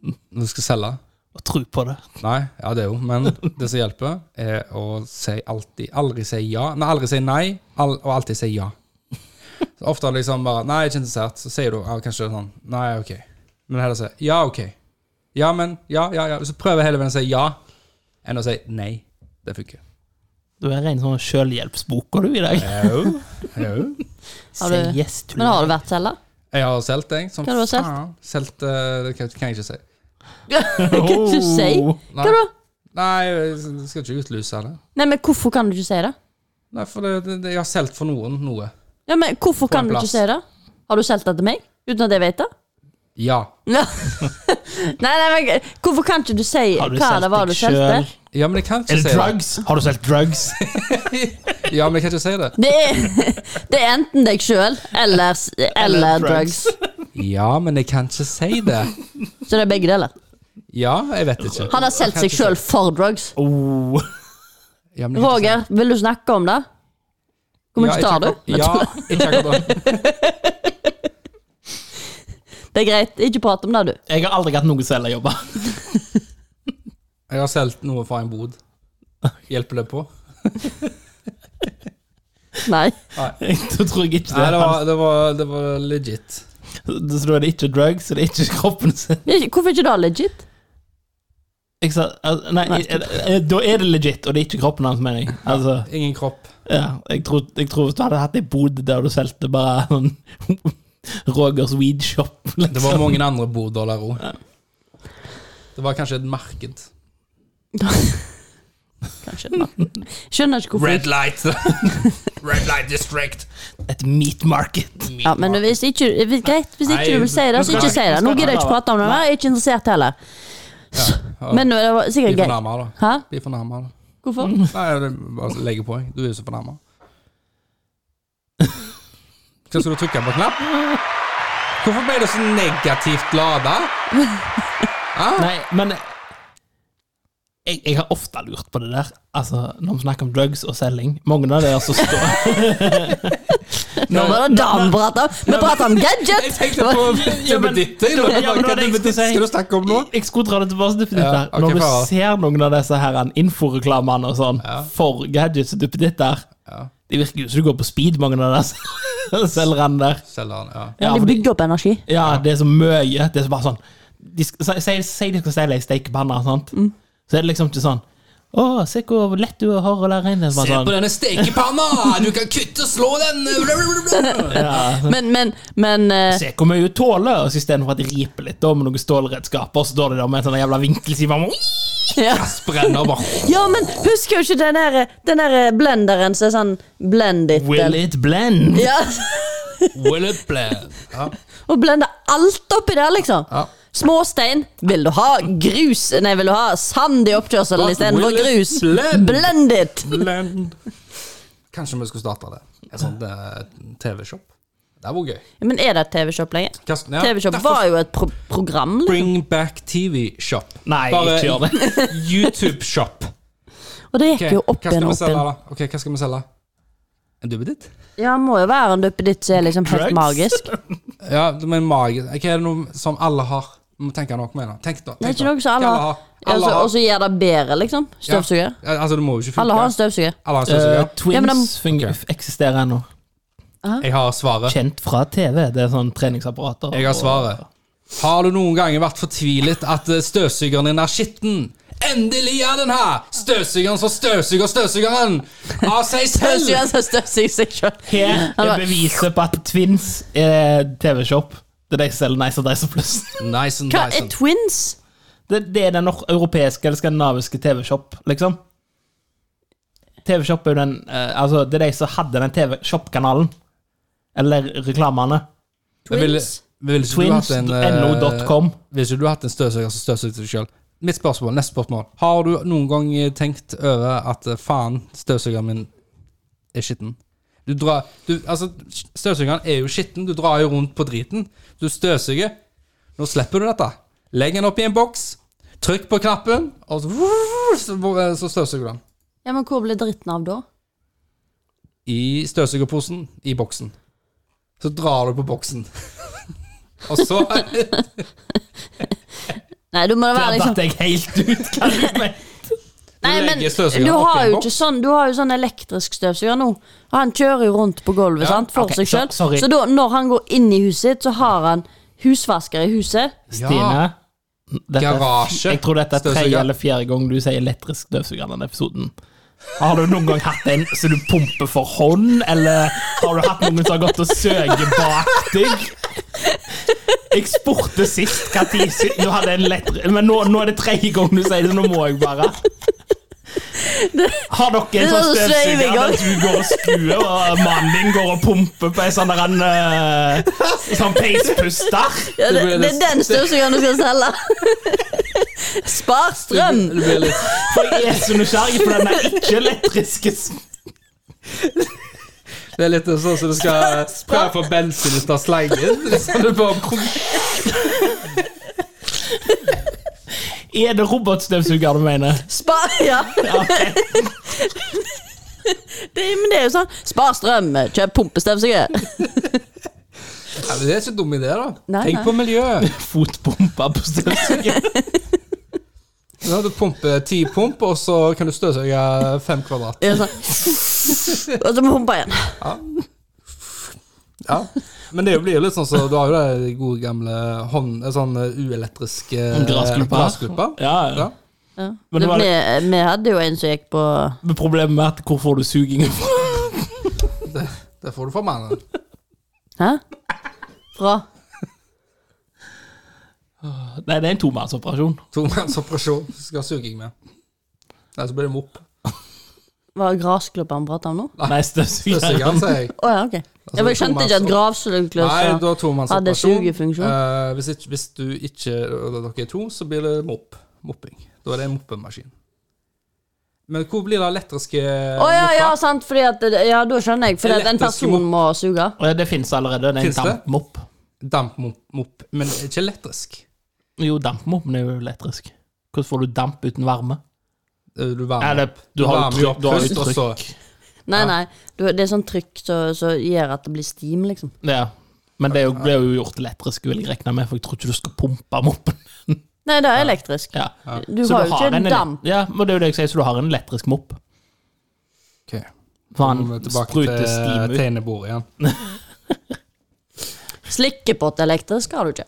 A: når du skal selge?
B: Og tro på det.
A: Nei, ja det er jo, men det som hjelper, er å si alltid Aldri si ja. Nei, aldri si nei, al og alltid si ja. Så ofte er det liksom bare Nei, jeg er ikke interessert. Så sier du ah, kanskje sånn Nei, ok. Men heller si ja, ok. Ja, men Ja, ja, ja. Så prøver jeg heller veien å si ja enn å si nei. Det funker.
B: Du er ren sånn selvhjelpsboka du i dag.
A: Jo. Jo.
C: Har du-
B: Say yes to
C: Men har du vært selger?
A: Jeg har solgt, jeg. Som
C: Hva har du solgt?
A: faen. Solgt eh, Det kan kan jeg ikke si.
C: Hva kan du si? Hva da?
A: Nei, jeg skal ikke utlyse det.
C: Nei, men hvorfor kan du ikke si det?
A: Nei, for det, det, det, jeg har solgt for noen noe.
C: Ja, men hvorfor
A: en
C: kan du ikke
A: plass.
C: si det? Har du solgt det til meg? Uten at jeg vet det?
A: Ja.
C: Ja. nei, nei, men hvorfor kan ikke du si
B: Har du
C: hva det var
B: solgt
C: du
B: deg
C: solgte?
B: selv?
A: Ja, men jeg kan ikke
B: Er det
A: si
B: drugs? Har du solgt drugs?
A: det. Ja, men jeg kan ikke si det.
C: Det er, det er enten deg sjøl eller, s- eller drugs.
A: Ja, men jeg kan ikke si det.
C: Så det er begge deler.
A: Ja, jeg vet ikke.
C: Han har solgt seg sjøl for drugs.
B: Oh.
A: Ja, men jeg kan ikke si det.
C: Roger, vil du snakke om det?
A: Ja,
C: Kommentar
A: ikke
C: du?
A: akkurat- Ja, ikke akkurat da.
C: Det er greit. Ikke prat om det, du.
B: Jeg har aldri hatt noen selgerjobber.
A: Jeg har solgt noe fra en bod. Hjelper det på?
C: Nei.
B: Da tror jeg ikke det.
A: Nei, det var, det var, det var legit.
B: Så da er det ikke drugs, og det er ikke kroppen sin.
C: Det er ikke- Hvorfor er ikke det legit?
B: Jeg sa, al- nei,
C: Nei.
B: eh, eh, da er det legit, og det er ikke kroppen hans, mener jeg. Altså,
A: Ingen kropp.
B: ja, jeg, tror, jeg tror hvis du hadde hatt ei bod der du solgte bare sånn Rogers weed shop
A: Det var
B: liksom.
A: mange andre boder der òg. Det var kanskje et marked.
C: Kanskje det var- Skjønner ikke hvorfor. ikke.
A: light. Red light district.
B: Et meat market.
C: Ja, men hvis ikke, hvis- greit, hvis ikke
A: Nei,
C: du vil si det, så
A: vi
C: ikke
A: skal-
C: si det.
A: vi
C: Nå
A: skal-
C: gidder jeg ikke prate om det mer. Jeg er ikke interessert heller.
A: Ja.
C: Men det var sikkert
A: Bli
C: gøy.
A: fornærma, da.
C: Hæ?
A: Bli fornærma, da.
C: Hvorfor?
A: Nei, jeg bare legger på. jeg. Du er jo så fornærma. Hva skal du trykke på knapp? Hvorfor ble du så negativt lada?
B: Nei, men jeg, jeg har ofte lurt på det der. Altså, Når vi snakker om drugs og selging Mange av dere som står
C: Nå var det det vi pratet om. Vi pratet om
A: Jeg
C: gadget!
A: tenkte på duppeditter.
B: Ja,
A: Hva
B: men- ja, men det var det jeg skulle
A: duppeditt
B: si.
A: skal du snakke om nå?
B: Jeg skulle dra det tilbake til
A: Ja,
B: duppeditter.
A: ok,
B: Når du
A: bra.
B: ser noen av disse her han, inforeklamene og sånn
A: Ja.
B: for gadgets og duppeditter,
A: Ja,
B: det virker jo som du går på speed, mange av disse selgerne der.
A: selgeren, ja.
C: Ja, de bygde opp energi.
B: ja, det er så mye. Det
C: Mm.
B: er så bare sånn de, sk- Si si- si de skal selge ei stekepanne, sant? så er det liksom ikke sånn Å, se hvor lett du har å lære regnet.
A: Se på
B: Sånn.
A: denne stekepanna! Du kan kutte og slå den!
B: Ja.
C: Men, men, men eh,
B: Se hvor mye du tåler, og så istedenfor at det riper litt da, med noen stålredskaper, så står det der med en sånn jævla vinkelskive
C: ja.
A: Brenner bare
C: ja, men husker du ikke den her, den her blenderen som er sånn blend it?
B: Will it blend? Eh,
C: Ja,
A: Will it blend? Ja.
C: og blender alt oppi der, liksom.
A: Ja.
C: Småstein. Vil du ha grus Nei, vil du ha sand i oppkjørselen
A: What
C: istedenfor
A: will it
C: grus?
A: blend?
C: Blend it!
A: Blend. Kanskje vi skulle starte det. En sånn eh, TV-shop. Det var gøy.
C: Men er det TV-shop lenger?
A: Kast- ja,
C: TV-shop
A: derfor-
C: var jo et pro program. Liksom.
A: Bring back TV-shop.
B: Nei, ikke gjør det.
A: YouTube-shop.
C: Og det gikk
A: Ok,
C: jo opp igjen og
A: hva skal vi
C: opp igjen.
A: selge, da? Ok, hva skal vi selge? En duppeditt?
C: Ja, må jo være en duppeditt som er liksom helt
B: Drugs?
C: magisk.
A: Ja, men mage Hva er det noe som alle har? Vi må tenke noe med det. Tenk da.
C: Det er
A: tenk
C: ikke
A: da.
C: noe som alle
A: Hva
C: har.
A: Alle
C: Altså,
A: har.
C: Og så gjør det bedre, liksom.
A: Ja.
C: Støvsuger.
A: Ja, altså, det må jo ikke funke.
C: Alle har en støvsuger.
A: Alle har en
B: Eh,
A: støvsuger.
B: twins
C: Ja, men de-
B: funger- eksisterer ennå.
A: Jeg har svaret.
B: Kjent fra TV. Det er sånn treningsapparater.
A: Jeg har
B: og-
A: svaret. Har du noen ganger vært fortvilet at eh, støvsugeren din er skitten? Endelig er den her! Støvsugeren som støvsuger støvsugeren! Av seg selv!
C: Støvsugeren som sånn støvsuger seg sjøl.
B: Her er beviset på at Twins er TV-shop. Det er de som selger Nice and Dicer Plus.
A: Nice and
C: Hva er
A: nice.
C: twins?
B: Det, det er den nor- europeiske eller skandinaviske TV-shop, liksom. TV-shop er jo den eh, Altså, det er de som hadde den TV-shop-kanalen. Eller reklamene.
A: Twins. Vil ikke du hatt en, eh,
B: Twins.no.com.
A: Hvis ikke du har hatt en støvsuger som støvsugde deg sjøl Mitt spørsmål, neste spørsmål. Har du noen gang eh, tenkt over at eh, faen, støvsugeren min er skitten? Du drar du, Altså, støvsugeren er jo skitten. Du drar jo rundt på driten. Du støvsuger. Nå slipper du dette. Legg den opp i en boks. Trykk på knappen, og så, så, så støvsuger du den.
C: Ja, men hvor ble dritten av da?
A: I støvsugerposen i boksen. Så drar du på boksen. og så
C: Nei, du må det
B: Der
C: være liksom
B: datt jeg helt ut. Hva du mener?
C: Nei, men
A: legger støvsugeren
C: du
A: opp i
C: har
A: en
C: jo
A: boks.
C: ikke sånn Du har jo sånn elektrisk støvsuger nå. Og Han kjører jo rundt på gulvet sant, for
B: ok,
C: seg
B: så-
C: sjøl. Så,
B: sorry.
C: da, når han går inn i huset sitt, så har han husvasker i huset.
B: Stine. Dette,
A: Garasje.
B: Jeg tror dette er
A: Støvsuger.
B: tredje eller fjerde gang du sier elektrisk støvsuger denne episoden. Har du noen gang hatt en som du pumper for hånd, eller har du hatt noen som har gått og søkt bak deg? Jeg spurte sist hva tid sy- du hadde en elektri- Men nå, nå er det tredje gang du sier det, så nå må jeg bare. Har dere en
C: Det er
B: sånn
C: så sveiv i
B: støvsuger
C: gang.
B: der du går og skuer, og mannen din går og pumper på en sånn der en eh, sånn peispuster?
C: Ja, det,
A: Det blir
C: det er
A: det-
C: den støvsugeren du skal selge. Spar strøm!
A: Det blir litt
B: For jeg er så nysgjerrig på den der ikke-elektriske
A: Det er litt sånn som du skal prøve å få bensin ut av slangen. Så du bare
B: Er det robotstøvsuger du mener?
C: Spar, ja. det, men det er jo sånn. Spar strøm, kjøp pumpestøvsuger.
A: ja, men Det er ikke en dum idé, da.
C: Nei,
A: Tenk
C: nei.
A: på miljøet.
B: Fotpumper på støvsuger.
A: Nå har du pumper ti pump, og så kan du støvsuge fem kvadrat.
C: Det er Sånn. Og så må pumpe igjen.
A: Ja. Men det blir jo litt sånn så du har jo det gode gamle hånd... en Sånn eh, uelektrisk eh,
B: Grassklipper.
A: grassklipper.
B: Ja, ja.
A: Ja.
C: Ja.
B: Men det var-
C: vi, vi hadde jo en som gikk på
B: Men problemet er at hvor får du sugingen fra?
A: Det får du fra mannen.
C: Hæ? Fra
B: Nei, det er en tomannsoperasjon.
A: Tomannsoperasjon. Skal ha suging med. Nei, så blir det mopp.
C: Var det gressklipper han prata om nå?
B: Nei, støvsuger.
A: Støvsugeren, sier jeg.
C: Å ja, ok. Ja, men jeg skjønte ikke at
A: Nei,
C: gravklipper
A: da tomannsoperasjon.
C: Hadde sugefunksjon.
A: Eh, hvis, ikke, hvis du ikke eller dere er to, så blir det mopp. Mopping. Da er det en moppemaskin. Men hvor blir det elektriske
C: Å ja, ja, sant, fordi at Ja, da skjønner jeg. Fordi at en
A: Elektrisk
C: person må suge.
B: Og det fins allerede. Det er
A: Finnes
B: en
A: det?
B: dampmopp.
A: Dampmopp. Men ikke elektrisk.
B: Jo, dampmoppen er jo elektrisk. Hvordan får du damp uten varme?
A: Eh, Du varmer
B: Eller,
A: opp.
B: du har
A: varmer
B: jo
A: opp
B: trykk. Du har jo
A: først, og så-
B: trykk.
C: Nei,
A: Ja.
C: nei. Du, det er sånn trykk som så, gjør at det blir steam, liksom.
B: Ja. Men det er jo- blir jo gjort elektrisk, vil jeg regne med, for jeg tror ikke du skal pumpe moppen.
C: Nei, det er elektrisk.
B: Ja.
C: Du
B: Så
C: har jo
B: en
C: ikke
B: ele-
C: damp.
B: Ja, men det er jo det jeg sier, så du har en elektrisk mopp.
A: Ok,
B: For
A: nå må
B: han
A: vi tilbake
B: spruter steam
A: til
B: ut.
A: tegnebordet igjen.
C: Slikkepott elektrisk har du ikke.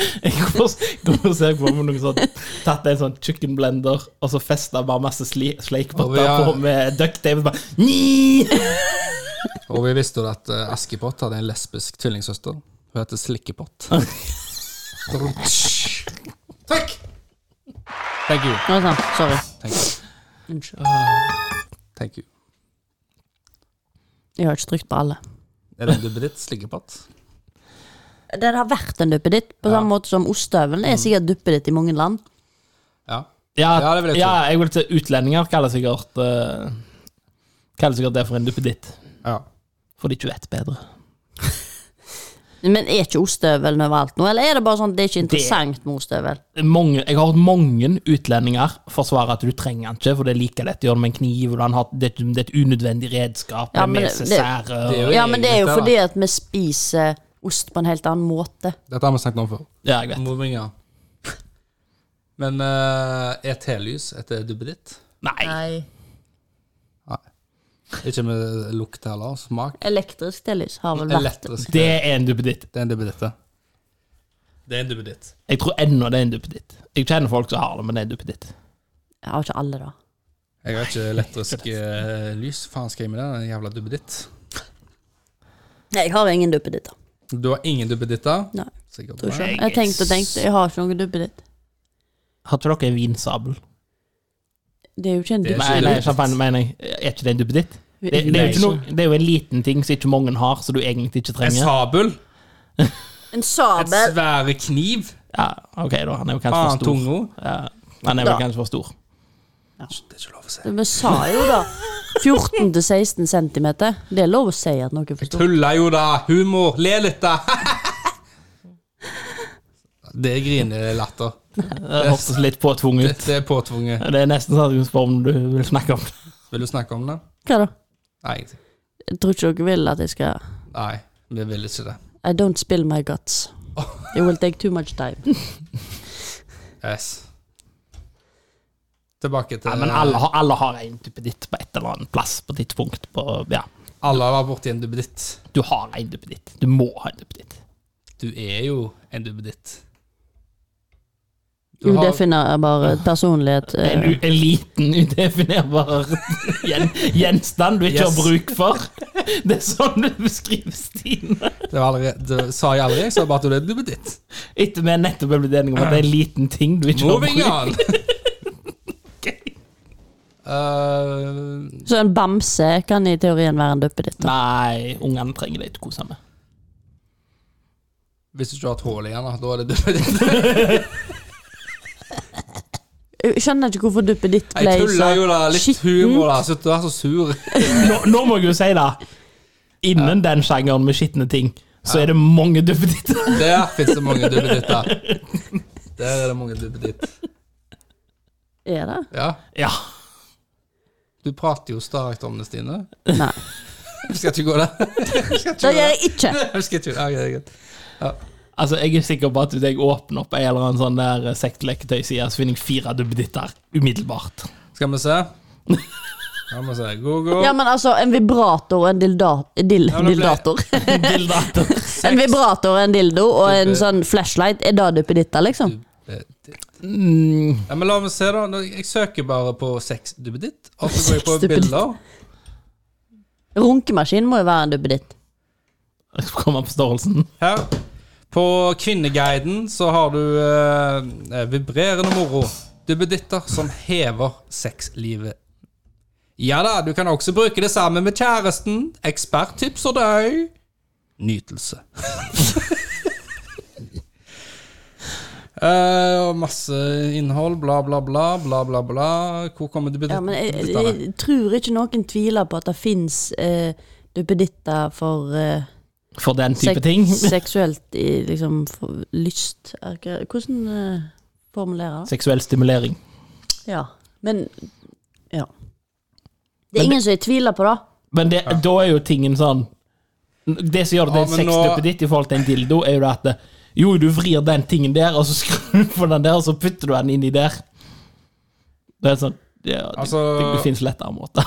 B: Jeg går og- går og ser på meg noen sånn Tatt en sånn chicken blender, og så festa bare masse sli-
A: Og
B: sleikpotter
A: vi har-
B: på med ducktape. Bare Ni!
A: Og vi visste jo at eh, Askepott hadde en lesbisk tvillingsøster. Hun heter Slikkepott. Takk! Thank you.
C: Nå er det sant. Sorry.
A: Thank you.
C: Unnskyld.
A: Thank you.
C: Jeg har ikke trykt på alle.
A: Er det en duppeditt? Slikkepott?
C: Det har vært en duppeditt, på samme måte som ostehøvelen er sikkert duppeditt i mange land.
A: Ja. Ja,
B: Ja,
A: det vil jeg tro.
B: ja, jeg vil si utlendinger kaller sikkert eh, Kaller sikkert det for en duppeditt.
A: ja.
B: For de ikke vet bedre.
C: Men er ikke ostehøvelen overalt nå, eller er det bare sånn at det er ikke interessant med ostehøvel?
B: Mange, jeg har hørt mange utlendinger forsvare at du trenger den ikke, for det er like lett å gjøre det med en kniv. Og den har, det, er ikke- det er et unødvendig redskap.
C: Ja,
B: det er
C: men
B: med
C: det- det-
B: sesære.
A: det er jo-
B: og-
C: Ja, men det er jo
A: egentlig,
C: fordi at vi spiser ost på en helt annen måte.
A: Dette har vi snakket om før.
B: Ja, jeg vet.
A: Må bringe den. Men eh, er telys et eh, duppeditt?
B: Nei.
A: Ikke med lukt heller. Smak.
C: Elektrisk telys har vel vært
A: Elektrisk.
B: Det er en duppeditt.
A: Det er en duppeditt, det. Det er en duppeditt.
B: Jeg tror ennå det er en duppeditt. Jeg kjenner folk som har det, men det er en duppeditt.
C: Jeg har ikke alle, da.
A: Jeg har ikke elektrisk eh, lys. Faen skal jeg med den jævla duppeditt?
C: Nei, jeg har ingen duppeditter.
A: Du har ingen duppeditter?
C: Nei,
A: Sikkert.
C: Tror
A: Nei.
C: ikke.
B: Jeg
C: Jeg tenkte og tenkte, jeg har ikke noen duppeditt.
B: Har ikke dere en vinsabel?
C: Det er jo ikke en
A: Det er
B: Nei,
C: duppeditt.
A: ikke
B: nei,
A: duppeditt.
B: champagne mener jeg. Er ikke det en duppeditt? Det, det, er jo
A: Nei.
B: ikke noe, det er jo en liten ting som ikke mange har, som du egentlig ikke
A: En
B: trenger.
A: sabel?
C: En
A: Et
C: sabel.
A: svære kniv?
B: Ja, ok, da. Han er jo kanskje
A: Faen,
B: for stor.
A: tunga?
B: Ah, Ja, han er vel
C: Da.
B: kanskje for stor.
A: Det er ikke lov å si.
C: Vi sa jo da 14-16 cm. Det er lov å si at noe er for stort.
A: Tulla jo, da! Humor! Le litt, da! Det er grinelatter.
B: Det hørtes litt påtvunget ut.
A: Dette er påtvunget.
B: Det er nesten sånn at du spør om du vil snakke om det.
A: Vil du snakke om det?
C: Hva da?
A: Nei. ingenting.
C: Jeg tror ikke dere vil at jeg skal
A: Nei, vi vil ikke det.
C: I don't spill my guts. It will take too much time.
A: Yes. Tilbake til
B: Nei, men alle, har- alle har en duppeditt på et eller annet plass på et tidspunkt. På, ja.
A: Alle var borti en duppeditt.
B: Du har en duppeditt. Du må ha en duppeditt.
A: Du er jo en duppeditt. Du har-
C: Udefinerbar personlighet.
B: En,
C: eh,
B: u- en liten, udefinerbar gjen, gjenstand du ikke
A: Yes.
B: har bruk for. Det er sånn du beskriver Stine.
A: Det, var allerede, det sa jeg aldri. Jeg sa bare at du er en duppeditt.
B: Etter vi nettopp er blitt enige om at det er en liten ting du ikke har
A: Moving
B: bruk
A: on! Eh,
C: Så en bamse kan i teorien være en duppeditt. da.
B: Nei, ungene trenger deg til å kose med.
A: hvis du ikke har et hull igjen, da, da er det duppeditt.
C: Jeg skjønner ikke hvorfor duppeditt ble
A: Jeg tuller jo, da. Litt
C: skittent.
A: humor, da. Slutt å være så sur.
B: Nå, nå må jeg jo si det. Innen den sjangeren med skitne ting, så er det mange duppeditter.
A: Der fins det mange duppeditter. Der er det mange duppeditt.
C: Er det?
A: Ja.
B: Ja.
A: Du prater jo sterkt om det, Stine.
C: Nei.
A: Vi skal ikke gå der.
C: Det gjør jeg ikke.
A: Vi skal ikke, ja, det er greit.
B: Altså, Jeg er sikker på at hvis jeg åpner opp ei eller annen sånn der sektleketøyside, så finner jeg fire duppeditter umiddelbart.
A: skal vi se. Skal vi se. Google.
C: Ja, men altså, en vibrator og en dilda- dil,
A: men det ble-
C: dildator.
B: Dildater.
C: En vibrator og en dildo og en sånn flashlight. Er det duppeditter, liksom?
A: Duppeditt.
B: Mm.
A: Ja, men la meg se, da. Nå- Jeg søker bare på sex duppeditt, og så går jeg på
C: Sexduppeditt.
A: bilder.
C: Runkemaskin må jo være en duppeditt.
B: Jeg skal komme på størrelsen.
A: Her. På Kvinneguiden så har du eh, vibrerende moro. Duppeditter som hever sexlivet. Ja da, du kan også bruke det sammen med kjæresten. Eksperttips og deg. Nytelse. Eh, og masse innhold, bla, bla, bla, bla, bla, bla. Hvor kommer duppeditt-
C: Ja, men eh, jeg,
A: duppedittene?
C: jeg tror ikke noen tviler på at det fins eh, duppeditter for eh,
B: For den type
C: sek-
B: ting.
C: seksuelt i, liksom, for, lyst Er ikke- Hvordan eh, formulerer det?
B: Seksuell stimulering.
C: Ja. Men Ja. Det er ingen som tviler på det.
B: Men det, da er jo tingen sånn Det som gjør det
A: Ja,
B: til
A: men
B: en
A: nå-
B: sexduppeditt i forhold til en dildo, er jo det at det, jo, du vrir den tingen der, og så skrur du på den der, og så putter du den inni der. Det er sånn ja, det,
A: Altså-
B: det, det fins lettere måter.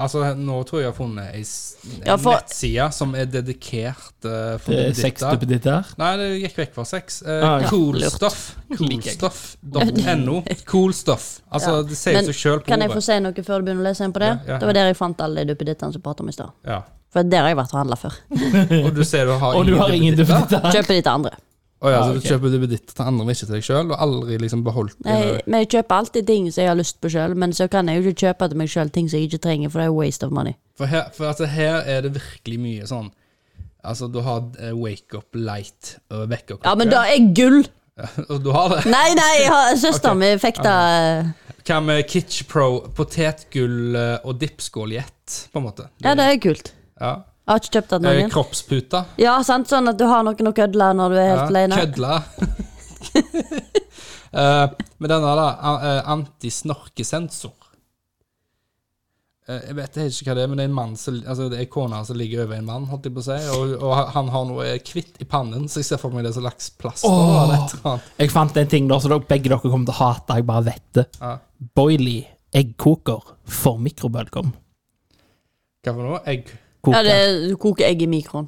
A: Altså, nå tror jeg jeg har funnet ei s- en
C: Ja, for-
A: nettside som er dedikert uh, for
B: Det er
A: duppeditter.
B: seks duppeditter.
A: Nei, det gikk vekk fra sex. Eh,
B: Ah,
C: Lurt.
B: ja.
A: Coolstuff.
B: Liker jeg.
A: Coolstuff.no. Coolstuff. Altså,
C: Ja.
A: det sier
C: Men
A: seg sjøl på
C: Kan jeg få
A: ordet.
C: si noe før du begynner å lese inn på det?
A: Ja, ja, ja.
C: Det var der jeg fant alle de duppedittene som pratet om i stad.
A: Ja.
C: For der har jeg vært og handla før.
A: Og du sier du har
B: Og du har ingen duppeditter.
C: Kjøper de til andre.
A: Å ja,
B: Ah,
A: så du
B: ok.
A: kjøper duppeditter til andre, men ikke til deg sjøl? Og aldri liksom beholdt
C: Nei,
A: dine-
C: men jeg kjøper alltid ting som jeg har lyst på sjøl, men så kan jeg jo ikke kjøpe til meg sjøl ting som jeg ikke trenger, for det er waste of money.
A: For, her, for altså, her er det virkelig mye sånn Altså, du har eh, wake up light og vekkerklokke.
C: Ja, men det er gull!
A: Og du har det.
C: Nei, nei, jeg har- søsteren min fikk det
A: Hva med Kitch Pro, potetgull eh, og dipskål i ett, på en måte?
C: Ja, det er kult.
A: Ja.
C: Jeg har ikke kjøpt det til
A: Eh,
C: noen.
A: Kroppsputa.
C: Ja, sant? Sånn at du har noen å kødle når du er helt alene.
A: Kødla. Eh, men denne, da. a- eh, Antisnorkesensor. Eh, Jeg vet jeg ikke hva det er, men det er en mann som, altså det er kona som ligger over en mann, holdt jeg på å si. Og, og han har noe eh, kvitt i pannen, så jeg ser for meg det er så laks plaster.
B: Åh.
A: eller et eller annet.
B: Jeg fant en ting da som dere- begge dere kommer til å hate. Jeg bare vet det.
A: Ja.
B: Boily eggkoker for mikrobølgeovn.
A: Hva for noe? Egg?
C: Ja,
B: Koker.
C: det er, du koker egg i mikroen.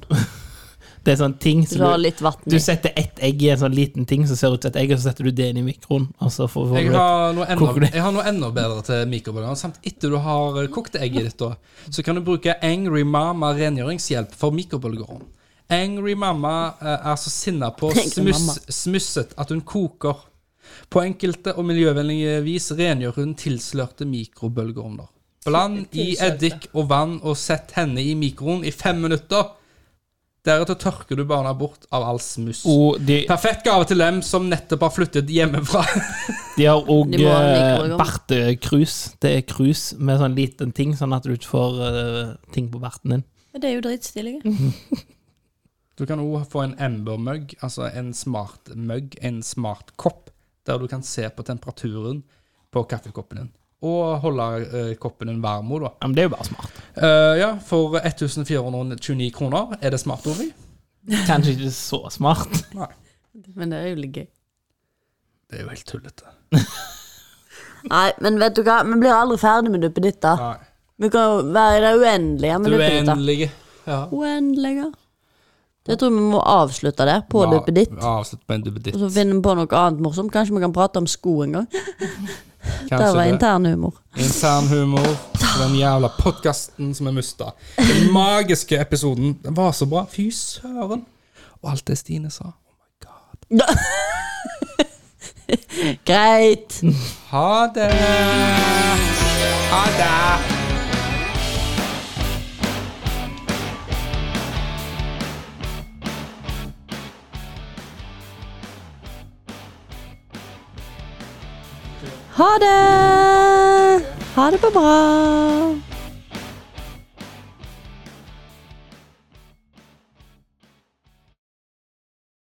B: Det er sånn ting
C: Du har
B: som du,
C: litt vann
B: du
C: i.
B: setter ett egg i en sånn liten ting som ser ut som et egg, og så setter du det inn i mikroen. Og så får, får
A: Jeg
B: du et-
A: har, noe
B: Koker
A: enda,
B: det.
A: jeg har noe enda bedre til mikrobølger. Samt etter du har eh, kokt egget ditt, da, så kan du bruke Angry Mama rengjøringshjelp for mikrobølgeovn. Angry Mama eh, er så sinna på
C: Angry
A: smuss,
C: Mama.
A: smusset at hun koker. På enkelte og miljøvennlige vis rengjør hun tilslørte mikrobølgeovner. Bland i eddik og vann og sett henne i mikroen i fem minutter. Deretter tørker du barna bort av all smuss.
B: Og de,
A: Perfekt gave til dem som nettopp har flyttet hjemmefra.
B: de har òg
C: De må ha mikroovn.
B: bartekrus. Det er krus med sånn liten ting, sånn at du ikke får eh, ting på barten din.
C: Det er jo dritstilige.
A: Du kan òg få en Ember-mugg, altså en smart mugg, en smart kopp, der du kan se på temperaturen på kaffekoppen din. Og holde eh, koppen din varm òg, da.
B: Ja, men det er jo bare smart.
A: Eh, ja, for 1429 kroner. Er det smart, Ori?
B: Kanskje ikke så smart.
A: Nei.
C: Men det er jo litt gøy.
A: Det er jo helt tullete.
C: Nei, men vet du hva? Vi blir aldri ferdig med duppeditter.
A: Nei.
C: Vi kan jo være i det uendelige
A: Du
C: med
A: er
C: duppeditter.
A: endelig ja.
C: Uendelige. Jeg tror vi må avslutte det på duppeditt.
A: Ja, avslutt på en duppeditt.
C: Og så finner vi på noe annet morsomt. Kanskje vi kan prate om sko en gang. Det
A: Kanskje
C: var
A: det.
C: internhumor.
A: Internhumor. Den jævla podkasten som vi mista. Den magiske episoden. Den var så bra. Fy søren. Og alt det Stine sa. Oh my god.
C: Greit.
A: Ha det! Ha det!
C: Ha det! Ha det på bra.